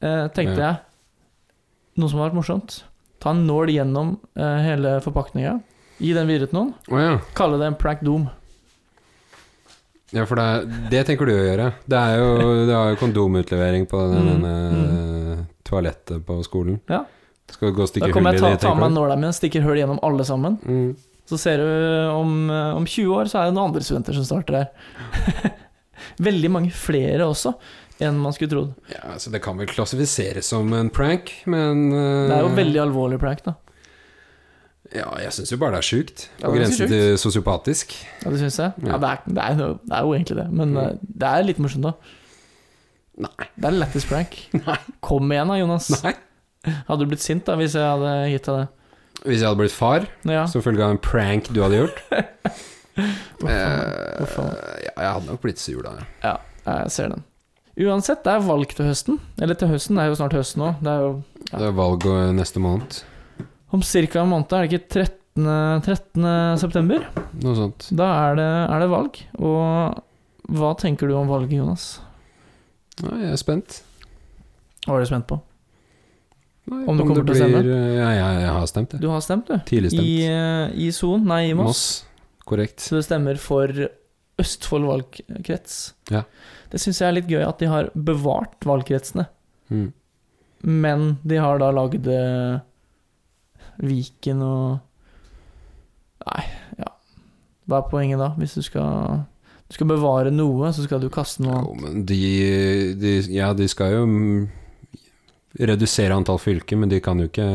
Speaker 1: Eh, tenkte
Speaker 2: Ja.
Speaker 1: jeg Noe som har vært morsomt. Ta en nål gjennom eh, hele forpakninga. Gi den videre til noen.
Speaker 2: Å ja.
Speaker 1: Kalle det en prank doom.
Speaker 2: ja, for det, er, det tenker du å gjøre. Det er jo, det er jo kondomutlevering på den,
Speaker 1: Mm,
Speaker 2: denne toalettet på skolen.
Speaker 1: Ja.
Speaker 2: Skal du gå og
Speaker 1: Da
Speaker 2: stikke hull
Speaker 1: kommer
Speaker 2: i
Speaker 1: jeg ta,
Speaker 2: det,
Speaker 1: ta
Speaker 2: tenker
Speaker 1: med
Speaker 2: du?
Speaker 1: nåla mi og stikker hull gjennom alle sammen.
Speaker 2: Mm.
Speaker 1: Så ser du om, eh, om 20 år så er det noen andre studenter som starter her. Veldig mange flere også enn man skulle trodd.
Speaker 2: Ja, altså Det kan vel klassifiseres som en prank, men eh,
Speaker 1: Det er jo veldig alvorlig prank, da.
Speaker 2: Ja, jeg syns jo bare det er sjukt.
Speaker 1: Ja,
Speaker 2: På
Speaker 1: det er ganske
Speaker 2: grensen
Speaker 1: sjukt.
Speaker 2: til sosiopatisk.
Speaker 1: Ja, det syns jeg. Ja,
Speaker 2: Ja. Mm.
Speaker 1: det, er, det, er, jo- det er jo egentlig det, men eh, det er litt morsomt, da.
Speaker 2: Nei.
Speaker 1: Det er lettest prank. Kom igjen da, Jonas.
Speaker 2: Nei.
Speaker 1: Hadde du blitt sint da hvis jeg hadde gitt deg det?
Speaker 2: Hvis jeg hadde blitt far
Speaker 1: Ja.
Speaker 2: som følge av en prank du hadde gjort
Speaker 1: Uff,
Speaker 2: eh,
Speaker 1: Uff, faen.
Speaker 2: ja, Jeg hadde nok blitt sur da. ja.
Speaker 1: Jeg ser den. Uansett, det er valg til høsten. Eller til høsten, det er jo snart høsten nå. Det er jo Ja.
Speaker 2: Det er valg eh, neste måned.
Speaker 1: om ca. en måned, er det ikke 13. 13. september?
Speaker 2: Noe sånt.
Speaker 1: Da er det, er det valg, og hva tenker du om valget, Jonas?
Speaker 2: Ja, jeg er spent.
Speaker 1: Hva er du spent på?
Speaker 2: Nei,
Speaker 1: Om du kommer til å stemme?
Speaker 2: eh, Ja, jeg, jeg har stemt, jeg.
Speaker 1: Du har stemt, du.
Speaker 2: Tidlig
Speaker 1: I,
Speaker 2: stemt.
Speaker 1: eh, I Son, nei, i Moss.
Speaker 2: Korrekt.
Speaker 1: Så du stemmer for Østfold valgkrets.
Speaker 2: Ja.
Speaker 1: Det syns jeg er litt gøy at de har bevart valgkretsene,
Speaker 2: Mm.
Speaker 1: men de har da lagd eh, Viken og Nei, ja. Hva er poenget da? Hvis du skal, du skal bevare noe, så skal du kaste noe
Speaker 2: Jo, men de, de Ja, de skal jo mm, redusere antall fylker, men de kan jo ikke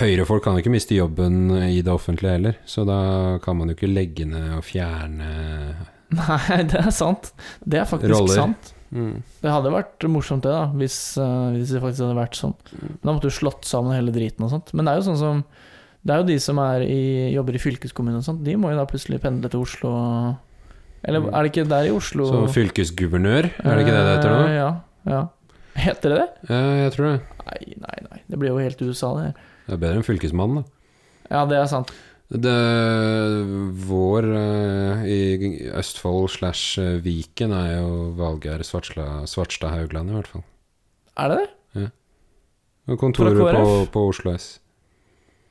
Speaker 2: Høyrefolk kan jo ikke miste jobben i det offentlige heller, så da kan man jo ikke legge ned og fjerne
Speaker 1: Nei, det er sant. Det er faktisk
Speaker 2: Roller.
Speaker 1: sant.
Speaker 2: mm.
Speaker 1: Det hadde vært morsomt det, da, hvis, eh, hvis det faktisk hadde vært sånn.
Speaker 2: Mm.
Speaker 1: Men Da måtte du slått sammen hele driten og sånt. Men det er jo sånn som Det er jo de som er i, jobber i fylkeskommunen og sånt, de må jo da plutselig pendle til Oslo og Eller
Speaker 2: Mm.
Speaker 1: er det ikke der i Oslo
Speaker 2: Så fylkesguvernør, er det ikke det det heter
Speaker 1: Eh,
Speaker 2: nå?
Speaker 1: Ja. ja. Heter det det?
Speaker 2: Ja, jeg tror det.
Speaker 1: Nei, nei, nei. Det blir jo helt USA, det her.
Speaker 2: Det er bedre enn fylkesmann, da.
Speaker 1: Ja, det er sant.
Speaker 2: Det, vår eh, i Østfold slash eh, Viken er jo Valgeir Svartsla- Svartstad Haugland, i hvert fall.
Speaker 1: Er det det?
Speaker 2: Og kontoret
Speaker 1: Fra
Speaker 2: på,
Speaker 1: KrF?
Speaker 2: på Oslo S.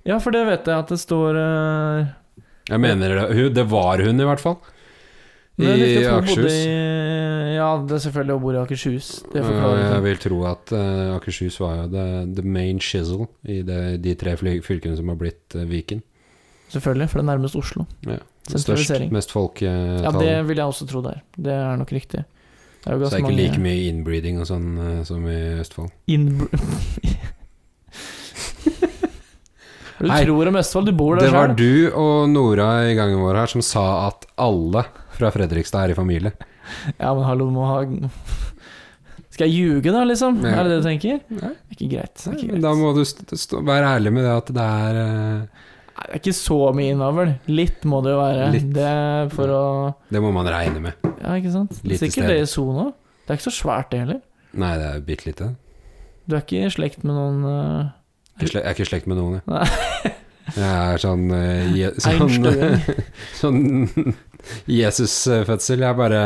Speaker 1: Ja, for det vet jeg at det står eh,
Speaker 2: Jeg mener det. Hun, det var hun, i hvert fall.
Speaker 1: men jeg
Speaker 2: I
Speaker 1: visste at hun bodde
Speaker 2: Akershus.
Speaker 1: i- Ja, det er selvfølgelig hun bor i Akershus. Det
Speaker 2: Ja,
Speaker 1: forklarer
Speaker 2: jeg
Speaker 1: ting.
Speaker 2: vil tro at eh, Akershus var jo the, the main chisel i det, de tre fly, fylkene som har blitt eh, Viken.
Speaker 1: Selvfølgelig, for det er nærmest Oslo.
Speaker 2: Størst,
Speaker 1: Sentralisering.
Speaker 2: mest eh,
Speaker 1: Ja,
Speaker 2: folketall.
Speaker 1: det vil jeg også tro der. Det er nok riktig. Det er jo
Speaker 2: så det
Speaker 1: ganske
Speaker 2: er ikke
Speaker 1: mange
Speaker 2: like mye inbreeding og sånn eh, som i Østfold.
Speaker 1: innbr- Du
Speaker 2: Nei,
Speaker 1: tror om Østfold, du bor der
Speaker 2: Det
Speaker 1: sjøl.
Speaker 2: var du og Nora i gangen vår her som sa at alle fra Fredrikstad er i familie.
Speaker 1: Ja, men hallo, må ha Skal jeg ljuge, da, liksom?
Speaker 2: Ja.
Speaker 1: Er det det du tenker?
Speaker 2: Nei.
Speaker 1: Det er ikke greit. Det er ikke,
Speaker 2: Men da
Speaker 1: greit.
Speaker 2: må du st stå, være ærlig med det at det er eh,
Speaker 1: Nei, det er ikke så mye innavl. Litt må det jo være.
Speaker 2: Litt.
Speaker 1: Det er for å
Speaker 2: Det må man regne med.
Speaker 1: Ja, ikke sant?
Speaker 2: Lite
Speaker 1: Sikkert
Speaker 2: sted.
Speaker 1: det i Sono. Det er ikke så svært, det heller.
Speaker 2: Nei, det er bitte lite.
Speaker 1: Du er ikke i slekt med noen eh,
Speaker 2: Ikke sle- Jeg er ikke i slekt med noen, jeg.
Speaker 1: Nei.
Speaker 2: Jeg er sånn, eh, je sånn,
Speaker 1: Einstøing.
Speaker 2: sånn Jesus-fødsel. Jeg er bare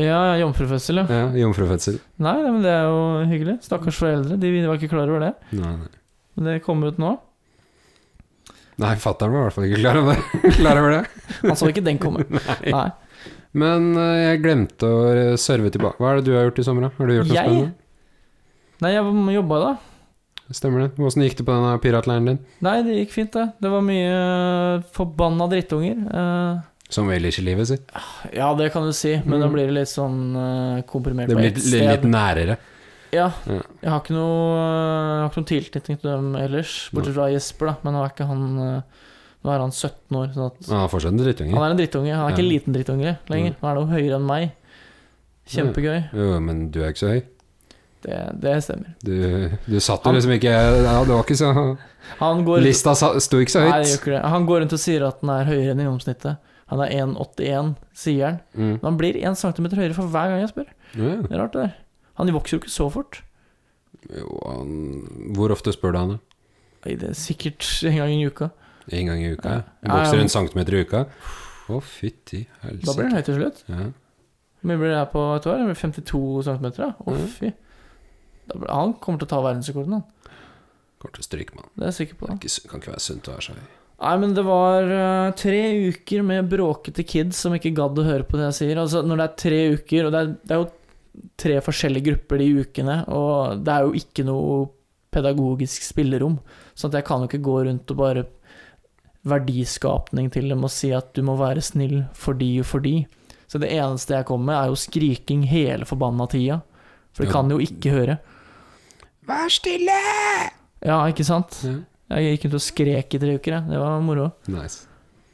Speaker 1: Ja, ja, jomfrufødsel, ja.
Speaker 2: ja, jomfrufødsel.
Speaker 1: Nei, nei, men det er jo hyggelig. Stakkars foreldre, de var ikke klar over det.
Speaker 2: Nei, nei.
Speaker 1: Men det kom ut nå.
Speaker 2: nei fatter'n var i hvert fall ikke klar over, klar over det.
Speaker 1: Han så ikke den komme. Nei.
Speaker 2: Men eh, jeg glemte å serve tilbake. Hva er det du har gjort i sommer, da? Har du gjort noe
Speaker 1: Jeg?
Speaker 2: spennende?
Speaker 1: Nei, jeg jobba da.
Speaker 2: Stemmer det. Åssen gikk det på denne piratleiren din?
Speaker 1: Nei, det gikk fint, det. Det var mye eh, forbanna drittunger. Eh,
Speaker 2: Som vel ikke livet, si.
Speaker 1: ja, det kan du si, men da
Speaker 2: Mm.
Speaker 1: blir det litt sånn eh, komprimert
Speaker 2: Det
Speaker 1: på
Speaker 2: blir
Speaker 1: ett
Speaker 2: litt,
Speaker 1: sted.
Speaker 2: litt nærere.
Speaker 1: Ja.
Speaker 2: Ja.
Speaker 1: Jeg har ikke noe, eh, jeg har ikke noen tilknytning til dem ellers, bortsett fra Jesper, da. Men nå er ikke han eh, Nå er han 17 år, sånn at
Speaker 2: Han har fortsatt en
Speaker 1: Han
Speaker 2: drittunge.
Speaker 1: er en drittunge. Han er ikke en
Speaker 2: Ja.
Speaker 1: liten drittunge lenger.
Speaker 2: Mm.
Speaker 1: Nå er han jo høyere enn meg. Kjempegøy.
Speaker 2: Jo, men du er ikke så høy.
Speaker 1: Det, det stemmer.
Speaker 2: Du, du satt jo
Speaker 1: Han-
Speaker 2: liksom ikke Ja, det var ikke så
Speaker 1: Han går,
Speaker 2: Lista sa- sto ikke så
Speaker 1: Nei, det gjør
Speaker 2: høyt.
Speaker 1: ikke det. han går rundt og sier at han er høyere enn gjennomsnittet. Han er 1,81, sier han.
Speaker 2: Mm.
Speaker 1: Men han blir 1 cm høyere for hver gang jeg spør.
Speaker 2: Ja.
Speaker 1: Det er rart, det der. Han vokser jo ikke så fort.
Speaker 2: Jo, han, hvor ofte spør du han? da?
Speaker 1: Nei, det er Sikkert en gang i uka.
Speaker 2: En gang i uka?
Speaker 1: Ja.
Speaker 2: ja. Vokser
Speaker 1: Ja,
Speaker 2: en centimeter i uka? Å, fytti
Speaker 1: Da blir
Speaker 2: helsike.
Speaker 1: han høy til slutt.
Speaker 2: Ja.
Speaker 1: Hvor mye blir det her på et år? Det blir 52 cm? Å,
Speaker 2: Mhm.
Speaker 1: fy. Da blir, han kommer til å ta verdensrekorden, han.
Speaker 2: Kommer til å stryke, mann.
Speaker 1: Det er jeg sikker på.
Speaker 2: Det er ikke su- kan ikke være sunt å være så høy.
Speaker 1: Nei, men det var eh, tre uker med bråkete kids som ikke gadd å høre på det jeg sier. Altså, når det er tre uker, og det er, det er jo tre forskjellige grupper de ukene, og det er jo ikke noe pedagogisk spillerom, sånn at jeg kan jo ikke gå rundt og bare verdiskapning til dem og si at du må være snill fordi og fordi. Så det eneste jeg kommer med, er jo skriking hele forbanna tida. For de
Speaker 2: Ja.
Speaker 1: kan jo ikke høre.
Speaker 2: Vær stille!
Speaker 1: Ja, ikke sant?
Speaker 2: Ja.
Speaker 1: Jeg gikk rundt og skrek i tre uker, jeg. Det var moro.
Speaker 2: Nice.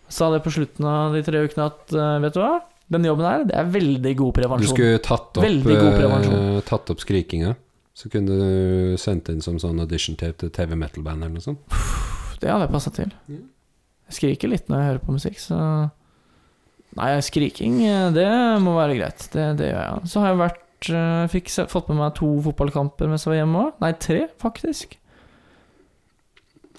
Speaker 1: sa det på slutten av de tre ukene at eh, vet du hva, den jobben her, det er veldig god
Speaker 2: Du
Speaker 1: prevensjon.
Speaker 2: skulle tatt opp,
Speaker 1: Veldig god prevensjon.
Speaker 2: eh, tatt opp skrikinga. Så kunne du sendt inn som sånn audition tape til TV Metal Band eller noe sånt.
Speaker 1: Det hadde jeg passa til.
Speaker 2: Ja.
Speaker 1: Jeg skriker litt når jeg hører på musikk, så Nei, skriking, eh, det må være greit. Det, det gjør jeg. Så har jeg vært eh, Fikk se- fått med meg to fotballkamper mens jeg var hjemme òg. Nei, tre, faktisk.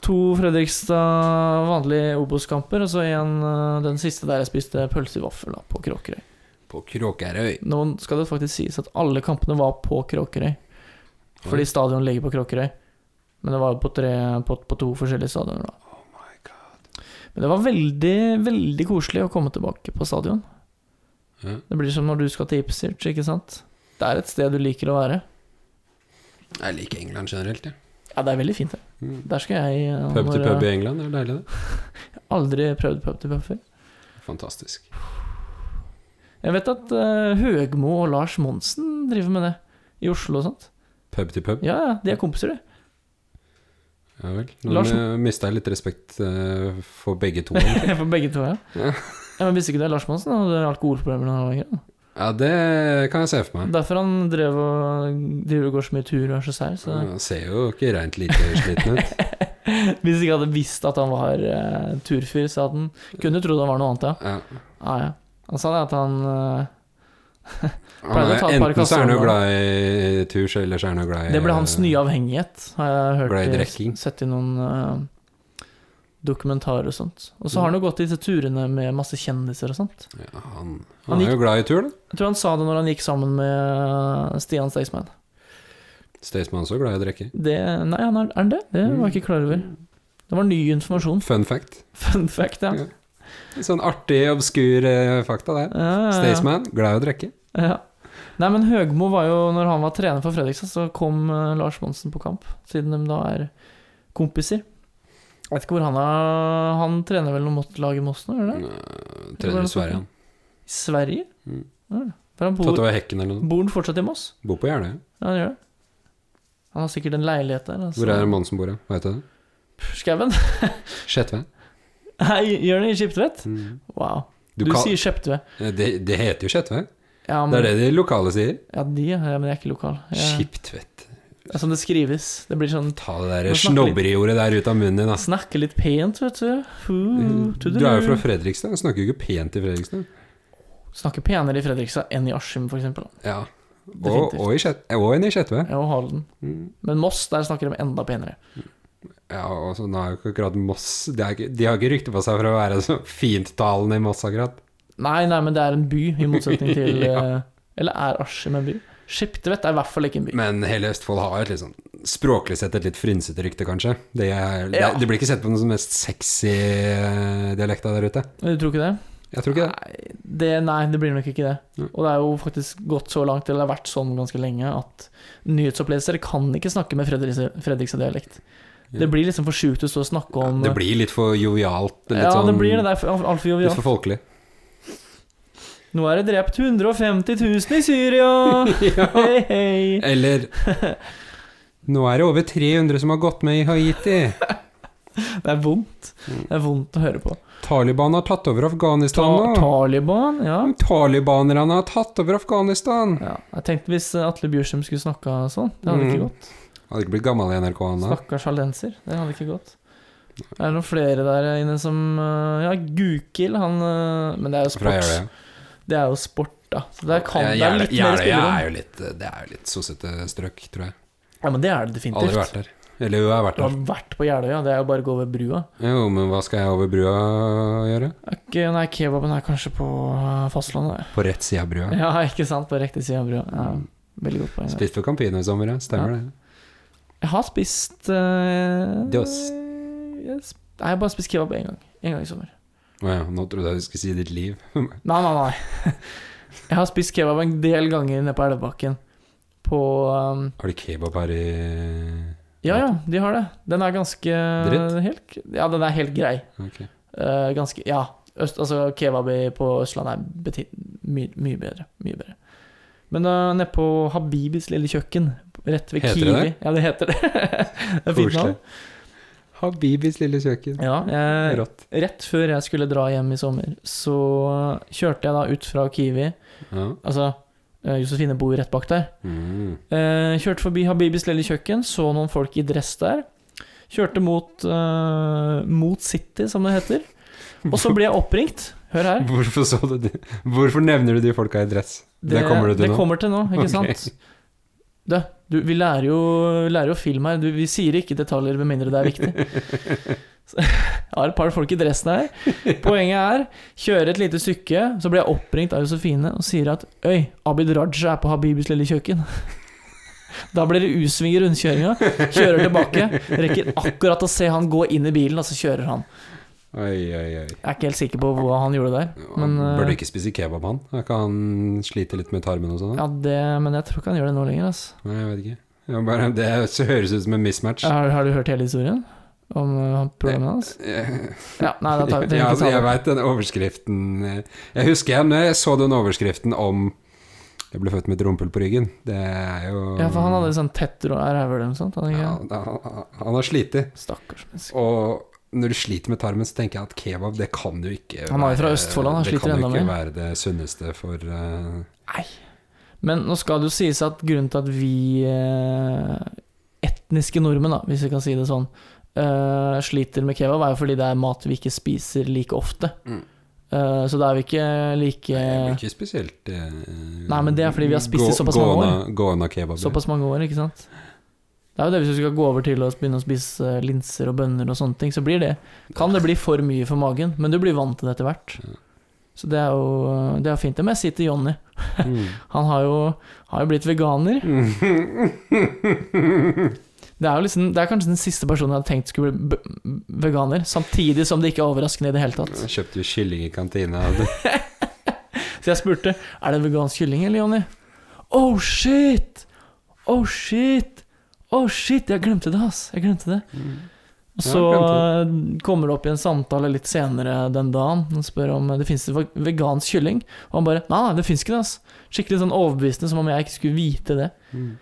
Speaker 1: To Fredrikstad vanlige Obos-kamper, og så en eh, den siste der jeg spiste pølse i vaffel, da, på Kråkerøy.
Speaker 2: På Kråkerøy.
Speaker 1: Nå skal det faktisk sies at alle kampene var på Kråkerøy. Fordi stadion ligger på Kråkerøy. Men det var jo på, tre, på, på to forskjellige stadioner, da.
Speaker 2: Oh
Speaker 1: Men det var veldig, veldig koselig å komme tilbake på stadion.
Speaker 2: Ja.
Speaker 1: Det blir som når du skal til Ipswich, ikke sant? Det er et sted du liker å være.
Speaker 2: Jeg liker England generelt, jeg.
Speaker 1: Ja, det er veldig fint, det.
Speaker 2: Mm.
Speaker 1: Der skal jeg eh,
Speaker 2: Pub til
Speaker 1: når
Speaker 2: pub
Speaker 1: jeg-
Speaker 2: i England, det er deilig, det.
Speaker 1: Aldri prøvd pub til pub før.
Speaker 2: Fantastisk.
Speaker 1: Jeg vet at eh, Høgmo og Lars Monsen driver med det i Oslo og sånt.
Speaker 2: Pub til pub.
Speaker 1: Ja, ja, de er kompiser, de.
Speaker 2: Ja vel.
Speaker 1: Lars-
Speaker 2: Nå mista jeg litt respekt eh, for begge to. egentlig.
Speaker 1: For begge to, ja.
Speaker 2: Ja.
Speaker 1: ja men visste ikke det Lars Monsen hadde alkoholproblemer da han var yngre? da.
Speaker 2: Ja, det kan jeg se for meg.
Speaker 1: Derfor han drev og, driver og går så mye tur og er så sær. Så
Speaker 2: Han ser jo ikke rent lite sliten ut.
Speaker 1: Hvis jeg ikke hadde visst at han var eh, turfyr, så hadde han kunne trodd han var noe annet, ja. Ah,
Speaker 2: Ja.
Speaker 1: Ja, ja. Han sa det at han eh,
Speaker 2: Han
Speaker 1: Pleier å
Speaker 2: er,
Speaker 1: ta et par
Speaker 2: enten så er han jo
Speaker 1: kasser om
Speaker 2: glad i tur, så ellers er han jo glad i
Speaker 1: Det ble hans nye avhengighet, har jeg hørt.
Speaker 2: Eh. Ble i
Speaker 1: i-
Speaker 2: drikking.
Speaker 1: Sett i noen eh, dokumentarer og sånt. Og
Speaker 2: Mm.
Speaker 1: så har han jo gått disse turene med masse kjendiser og sånt.
Speaker 2: Ja, han,
Speaker 1: Han
Speaker 2: han er jo glad i tur, da.
Speaker 1: Jeg tror han sa det når han gikk sammen med eh, Stian Staysman.
Speaker 2: Staysman er også glad i å drikke.
Speaker 1: Det Nei, han er, er han det? Det var jeg ikke klar over. Det var ny informasjon.
Speaker 2: Fun fact.
Speaker 1: Fun fact, ja.
Speaker 2: Ja. Sånn artig, obskur eh, fakta der.
Speaker 1: Ja, ja, ja.
Speaker 2: Staysman, glad i å drikke.
Speaker 1: Ja. Nei, men Høgmo var jo Når han var trener for Fredrikstad, så kom eh, Lars Monsen på kamp, siden de da er kompiser. Jeg vet ikke hvor han er Han trener vel noe mot- lag i Moss nå, gjør han det?
Speaker 2: Eh, Trener i Sverige, han.
Speaker 1: I Sverige?
Speaker 2: Mm.
Speaker 1: Ja. For han
Speaker 2: Tatt
Speaker 1: bor,
Speaker 2: over hekken eller noe.
Speaker 1: bor han fortsatt i Moss?
Speaker 2: Bor på Jeløya.
Speaker 1: Ja, han gjør det. Han har sikkert en leilighet der. altså.
Speaker 2: Hvor er mannen som bor, da? Vet du det?
Speaker 1: Skauen?
Speaker 2: Skjetve.
Speaker 1: Nei, gjør han i Skiptvet? Wow. Mm. Du,
Speaker 2: Du kan-
Speaker 1: sier Skjeptve.
Speaker 2: Eh, Det, det heter jo Skjetve.
Speaker 1: Ja,
Speaker 2: Det
Speaker 1: men,
Speaker 2: er det de lokale sier.
Speaker 1: ja, de, ja, men jeg er ikke lokal. Jeg,
Speaker 2: Skiptvet.
Speaker 1: det er sånn det skrives. Det blir sånn
Speaker 2: Ta
Speaker 1: Nå
Speaker 2: det
Speaker 1: snakker
Speaker 2: der
Speaker 1: vi-
Speaker 2: snobberiordet der ut av munnen din, ass.
Speaker 1: Snakke litt pent, vet du. Hu,
Speaker 2: Mm. Du er jo fra Fredrikstad. Jeg snakker jo ikke pent i Fredrikstad.
Speaker 1: Snakker penere i Fredrikstad enn i Askim, f.eks.
Speaker 2: Ja. Og,
Speaker 1: Definitivt.
Speaker 2: og, i Skjet- og en i Skjetve.
Speaker 1: Og Halden.
Speaker 2: Mm.
Speaker 1: Men Moss, der snakker de enda penere.
Speaker 2: Ja, og så nå er jo ikke akkurat Moss De, er ikke, de har ikke rykte på seg for å være så finttalende i Moss, akkurat.
Speaker 1: Nei, nei, men det er en by, i motsetning til eh, Eller er Askim en by? Skiptvet er i hvert fall ikke en by.
Speaker 2: Men hele Østfold har jo et litt sånn språklig sett et litt frynsete rykte, kanskje. Det, er, det,
Speaker 1: Ja.
Speaker 2: det blir ikke sett på den som mest sexy eh, dialekta der ute.
Speaker 1: Men Du tror ikke det?
Speaker 2: Jeg tror ikke det.
Speaker 1: Nei, det, nei, det blir nok ikke det.
Speaker 2: Nei.
Speaker 1: Og det er jo faktisk gått så langt, eller det har vært sånn ganske lenge, at nyhetsopplesere kan ikke snakke med Fredriks- Fredrikstad-dialekt.
Speaker 2: Ja.
Speaker 1: Det blir liksom for sjukt å stå og snakke om eh,
Speaker 2: Det blir litt for jovialt. det er Litt
Speaker 1: Ja,
Speaker 2: sånn,
Speaker 1: det blir det. Det er alt- altfor
Speaker 2: Litt
Speaker 1: jovialt.
Speaker 2: for folkelig.
Speaker 1: Nå er det drept 150 000 i Syria!
Speaker 2: ja.
Speaker 1: Hei, hei!
Speaker 2: Eller Nå er det over 300 som har gått med i Haiti.
Speaker 1: Det er vondt. Det er vondt å høre på.
Speaker 2: Taliban har tatt over
Speaker 1: Ta
Speaker 2: Afghanistan nå.
Speaker 1: Taliban, ja.
Speaker 2: Talibanerne har tatt over Afghanistan.
Speaker 1: ja. Jeg tenkte hvis Atle Bjørsheim skulle snakka sånn, det hadde ikke
Speaker 2: Mm.
Speaker 1: gått.
Speaker 2: Hadde ikke blitt gammel i NRK ennå.
Speaker 1: Stakkars hallenser. Det hadde ikke gått. Det er noen flere der inne som øh, Ja, Gukild, han øh, Men det er jo
Speaker 2: Fra
Speaker 1: sport.
Speaker 2: Jeløya.
Speaker 1: Det er jo sport, da. Så der kan
Speaker 2: Ja,
Speaker 1: det er
Speaker 2: Jeløya-
Speaker 1: litt mer
Speaker 2: Jeløya er
Speaker 1: spillerom.
Speaker 2: jo litt Det er jo litt sossete strøk, tror jeg.
Speaker 1: Ja, men det er det
Speaker 2: Aldri
Speaker 1: definitivt.
Speaker 2: vært der. Eller jo, jeg har vært
Speaker 1: Du har
Speaker 2: der.
Speaker 1: vært på Jeløya, det er jo bare å gå over brua.
Speaker 2: Jo, men hva skal jeg over brua gjøre?
Speaker 1: Er ikke- Nei, kebaben er kanskje på øh, fastlandet.
Speaker 2: På rett side av brua.
Speaker 1: Ja, ikke sant? På riktig side av brua. Ja, veldig godt poeng.
Speaker 2: Spist på Campino i sommer, ja. Stemmer det.
Speaker 1: Jeg har spist øh,
Speaker 2: Dost.
Speaker 1: jeg sp- Nei, jeg har bare spist kebab én gang. En gang i sommer.
Speaker 2: Å ja, nå trodde jeg du skulle si ditt liv.
Speaker 1: Nei, nei, nei. Jeg har spist kebab en del ganger nede på Elvebakken. På um,
Speaker 2: Har du kebab her i
Speaker 1: Ja, ja, de har det. Den er ganske
Speaker 2: Dritt?
Speaker 1: Helt, ja, den er helt grei.
Speaker 2: Ok.
Speaker 1: Eh, ganske Ja. Øst, altså, kebab i- på Østlandet er beti mye, mye bedre. Mye bedre. Men uh, nede på Habibis lille kjøkken, rett ved
Speaker 2: Heter det
Speaker 1: Kiwi
Speaker 2: det?
Speaker 1: Ja, det heter det. det er fint navn.
Speaker 2: Koselig. Habibis lille kjøkken.
Speaker 1: Ja, jeg,
Speaker 2: Rått.
Speaker 1: rett før jeg skulle dra hjem i sommer, så kjørte jeg da ut fra Kiwi
Speaker 2: Ja.
Speaker 1: Altså, eh, Josefine bor rett bak der.
Speaker 2: Mm.
Speaker 1: Eh, kjørte forbi Habibis lille kjøkken, så noen folk i dress der. Kjørte mot, eh, mot City, som det heter. Og så ble jeg oppringt. Hør her.
Speaker 2: Hvorfor, så du, de- hvorfor nevner du de folka i dress? Det, kommer du til
Speaker 1: det
Speaker 2: nå.
Speaker 1: kommer til nå, ikke
Speaker 2: Ok.
Speaker 1: sant? Du, du, vi lærer jo, vi lærer jo film her. Du, vi sier ikke detaljer med mindre det er viktig. Så, jeg har et par folk i dressen her. Poenget er, kjøre et lite stykke, så blir jeg oppringt av Josefine og sier at Øy, Abid Raja er på Habibis lille kjøkken. Da blir det U-sving i rundkjøringa. Kjører tilbake. Rekker akkurat å se han gå inn i bilen, og så kjører han.
Speaker 2: Oi, oi, oi.
Speaker 1: Jeg er ikke helt sikker på hva han gjorde der.
Speaker 2: han
Speaker 1: Men, eh,
Speaker 2: burde ikke spise kebab, han. Da Kan han slite litt med tarmen og sånn? da?
Speaker 1: ja, det, men jeg tror ikke han gjør det nå lenger. Altså.
Speaker 2: Nei, jeg vet ikke. Jeg bare, det så høres ut som en mismatch.
Speaker 1: Har, har du hørt hele historien? Om uh, problemet hans?
Speaker 2: Jeg,
Speaker 1: Ja, nei, da tar vi
Speaker 2: jeg,
Speaker 1: trenger ikke ta
Speaker 2: jeg
Speaker 1: det.
Speaker 2: veit den overskriften eh, Jeg husker jeg, når jeg så den overskriften om 'Jeg ble født med et rumpehull på ryggen'. Det er jo
Speaker 1: Ja, for han hadde sånn tett rå rævel eller noe sånt. Han,
Speaker 2: ja,
Speaker 1: ikke?
Speaker 2: da- han, har slitt.
Speaker 1: Stakkars menneske.
Speaker 2: Og når du sliter med tarmen, så tenker jeg at kebab, det kan jo ikke
Speaker 1: Han er jo fra
Speaker 2: være-
Speaker 1: Østfold, han sliter enda
Speaker 2: Det kan jo ikke
Speaker 1: mer.
Speaker 2: være det sunneste for eh,
Speaker 1: Men nå skal det jo sies at grunnen til at vi eh, etniske nordmenn, da, hvis vi kan si det sånn, eh, sliter med kebab, er jo fordi det er mat vi ikke spiser like ofte.
Speaker 2: Mm.
Speaker 1: Eh, så da er vi ikke like
Speaker 2: Nei, det blir ikke spesielt eh,
Speaker 1: Nei, men det er fordi vi har spist i
Speaker 2: gå-
Speaker 1: såpass mange år.
Speaker 2: gående- Gående kebab. ja.
Speaker 1: Såpass mange år, ikke sant? Det er jo det hvis du skal gå over til å begynne å spise eh, linser og bønner og sånne ting, så blir det Kan det bli for mye for magen, men du blir vant til det etter hvert. Så det er jo det er fint. Det må jeg si til Jonny.
Speaker 2: Mm.
Speaker 1: Han har jo, har jo blitt veganer. Det er, jo liksom, det er kanskje den siste personen jeg hadde tenkt skulle bli b- veganer, samtidig som det ikke er overraskende i det hele tatt.
Speaker 2: Jeg kjøpte jo kylling i kantina. og det-
Speaker 1: Så jeg spurte Er det vegansk kylling eller Jonny. Oh shit! Oh shit! Oh shit! Jeg glemte det, ass. Jeg glemte det.
Speaker 2: Mm.
Speaker 1: Og
Speaker 2: Ja,
Speaker 1: så eh, kommer det opp i en samtale litt senere den dagen. Han spør om eh, det fins vegansk kylling. Og han bare Nei, nei, det fins ikke det, ass. Skikkelig sånn overbevisende, som om jeg ikke skulle vite det.
Speaker 2: Mm.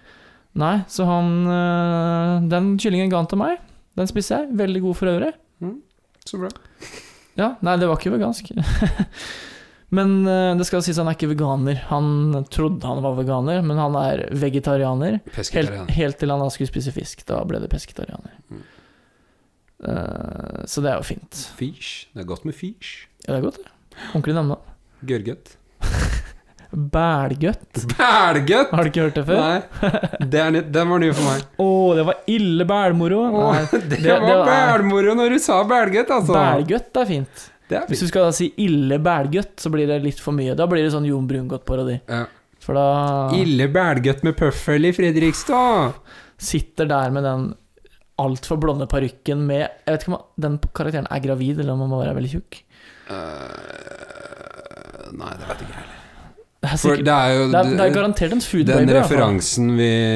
Speaker 1: Nei, så han eh, Den kyllingen ga han til meg. Den spiser jeg. Veldig god for øvrig.
Speaker 2: Så bra.
Speaker 1: Ja, nei, det var ikke vegansk. men eh, det skal sies han er ikke veganer. Han trodde han var veganer, men han er vegetarianer. Mm. Helt,
Speaker 2: Pesketarian.
Speaker 1: helt til han da skulle spise fisk. Da ble det pesketarianer. Eh, så det er jo fint.
Speaker 2: Fish. Det er godt med fish.
Speaker 1: Ja, det er godt, det. Ordentlig navnenavn.
Speaker 2: Gørrgøtt.
Speaker 1: Bælgøtt.
Speaker 2: Bælgøtt!
Speaker 1: Har du ikke hørt det før?
Speaker 2: Nei, det er nytt. den var ny for meg.
Speaker 1: Å, det var ille bælmoro. Nei,
Speaker 2: Åh, det,
Speaker 1: det
Speaker 2: var
Speaker 1: var-
Speaker 2: bælmoro når du sa bælgøtt, altså.
Speaker 1: Bælgøtt er fint.
Speaker 2: Det er
Speaker 1: Hvis
Speaker 2: fint.
Speaker 1: du skal da si ille bælgøtt, så blir det litt for mye. Da blir det sånn Jon Brungot-parodi.
Speaker 2: Ja.
Speaker 1: For da
Speaker 2: Ille bælgøtt med pøffel i Fredrikstad.
Speaker 1: sitter der med den altfor blonde parykken med Jeg vet ikke om den karakteren er gravid, eller om han bare er veldig tjukk.
Speaker 2: Eh, Nei, det vet jeg ikke.
Speaker 1: Det er,
Speaker 2: For
Speaker 1: sikkert,
Speaker 2: det er jo
Speaker 1: det er, det er garantert en food
Speaker 2: Den
Speaker 1: baby. i hvert fall.
Speaker 2: referansen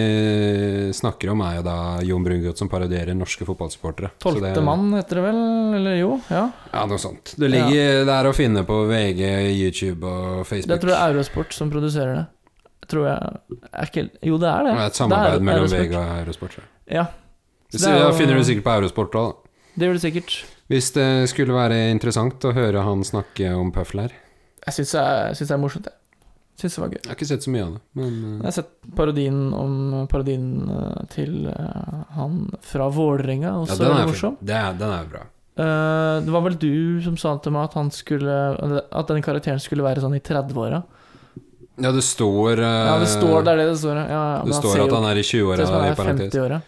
Speaker 2: vi snakker om, er jo da Jon Brungot som parodierer norske fotballsupportere. Så
Speaker 1: Tolvte
Speaker 2: altså, det-
Speaker 1: mann heter det vel, eller jo? Ja.
Speaker 2: Ja, noe sånt. Det ligger der å finne på VG, YouTube og Facebook.
Speaker 1: Det tror jeg er Eurosport som produserer det. Tror jeg er ikke, Jo, det er det.
Speaker 2: Det er et samarbeid
Speaker 1: Det er
Speaker 2: mellom
Speaker 1: Eurosport.
Speaker 2: VG og Eurosport. tror jeg.
Speaker 1: Ja, Så
Speaker 2: Hvis,
Speaker 1: det er
Speaker 2: Da
Speaker 1: jo-
Speaker 2: finner du sikkert på Eurosport òg, da.
Speaker 1: det gjør det sikkert.
Speaker 2: Hvis det skulle være interessant å høre han snakke om Puffler.
Speaker 1: Jeg syns det er- jeg syns det er morsomt, jeg. Syns det var gøy.
Speaker 2: Jeg har ikke sett så mye av det, men
Speaker 1: Jeg
Speaker 2: eh,
Speaker 1: har sett parodien om parodien eh, til eh, han fra Vålerenga,
Speaker 2: eh, ja,
Speaker 1: også
Speaker 2: den,
Speaker 1: veldig
Speaker 2: er
Speaker 1: morsom.
Speaker 2: fin. det er, den er jo bra.
Speaker 1: Eh, det var vel du som sa til meg at han skulle At den karakteren skulle være sånn i 30-åra.
Speaker 2: Ja, det står eh,
Speaker 1: Ja, det står det er det det står. ja. Ja, ja, men
Speaker 2: det står
Speaker 1: ser
Speaker 2: at
Speaker 1: jo
Speaker 2: han er i
Speaker 1: ut til
Speaker 2: 20-åra.
Speaker 1: som han
Speaker 2: i
Speaker 1: er
Speaker 2: parentes.
Speaker 1: 50-åra.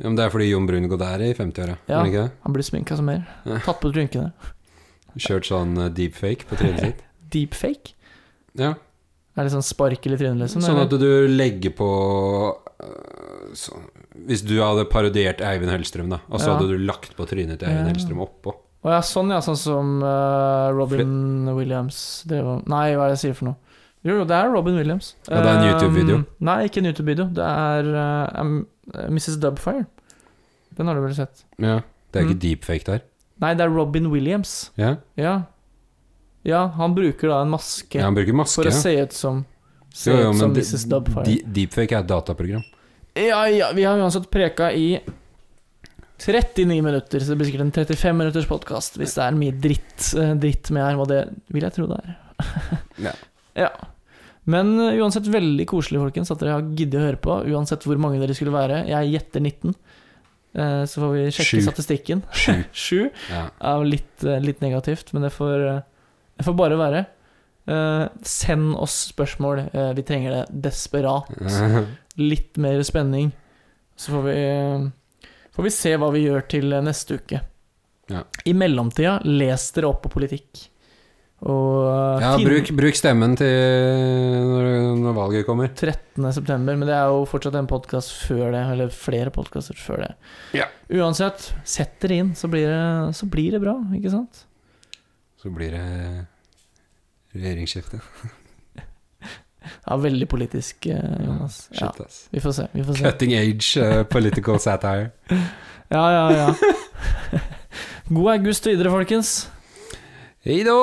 Speaker 2: Ja, men det er fordi Jon Brungot er i 50-åra, er
Speaker 1: Ja.
Speaker 2: han ikke det?
Speaker 1: Han blir sminka som mer.
Speaker 2: Ja.
Speaker 1: Tatt på rynkene.
Speaker 2: Kjørt sånn eh, deepfake på trynet sitt.
Speaker 1: Deepfake?
Speaker 2: Ja.
Speaker 1: Er det sånn sparkel i trynet, liksom?
Speaker 2: Sånn
Speaker 1: eller?
Speaker 2: at du legger på øh, så, Hvis du hadde parodiert Eivind Hellstrøm, da, og så
Speaker 1: Ja.
Speaker 2: hadde du lagt på trynet til Eivind
Speaker 1: Ja.
Speaker 2: Hellstrøm oppå.
Speaker 1: Å ja, sånn ja, sånn som eh, Robin Williams drev og Nei, hva er det jeg sier for noe? Jo, jo, det er Robin Williams.
Speaker 2: Ja, det er en YouTube-video.
Speaker 1: Um, nei, ikke en YouTube-video. Det er eh, em- eh, Mrs. Dubfire. Den har du vel sett?
Speaker 2: Ja. Det er ikke
Speaker 1: Mm.
Speaker 2: deepfake der.
Speaker 1: Nei, det er Robin Williams.
Speaker 2: Ja.
Speaker 1: Ja. Ja, han bruker da en maske
Speaker 2: Ja, han bruker maske.
Speaker 1: for å
Speaker 2: ja.
Speaker 1: se ut som Se
Speaker 2: Jo, jo,
Speaker 1: ut
Speaker 2: men
Speaker 1: som
Speaker 2: de-
Speaker 1: Mrs. Dubfire.
Speaker 2: de- Deepfake er et dataprogram.
Speaker 1: Ja, ja, vi har uansett preka i 39 minutter, så det blir sikkert en 35 minutters podkast hvis det er mye dritt, eh, dritt med her, og det vil jeg tro det er.
Speaker 2: Ja.
Speaker 1: Ja. Men eh, uansett veldig koselig, folkens, at dere har giddet å høre på. Uansett hvor mange dere skulle være. Jeg gjetter 19. eh, Så får vi sjekke
Speaker 2: Sju.
Speaker 1: statistikken.
Speaker 2: Sju.
Speaker 1: Sju
Speaker 2: Ja.
Speaker 1: er jo litt, eh, litt negativt, men det får, eh, det får bare være. Eh, Send oss spørsmål. Eh, Vi trenger det desperat litt mer spenning. Så får vi, får vi se hva vi gjør til neste uke.
Speaker 2: Ja.
Speaker 1: I mellomtida, les dere opp på politikk. Og eh,
Speaker 2: ja
Speaker 1: finn-
Speaker 2: bruk, bruk stemmen til når, når valget kommer.
Speaker 1: 13. september, men det er jo fortsatt en podkast før det, eller flere podkaster før det.
Speaker 2: Ja.
Speaker 1: Uansett, sett dere inn, så blir det, så blir det bra, ikke sant?
Speaker 2: Så blir det eh, regjeringsskifte.
Speaker 1: Ja, veldig politisk, eh, Jonas. Ja,
Speaker 2: Shit, ass.
Speaker 1: vi får se. Vi får se.
Speaker 2: Cutting age eh, political satire.
Speaker 1: Ja, ja, ja. God august videre, folkens.
Speaker 2: Hei då!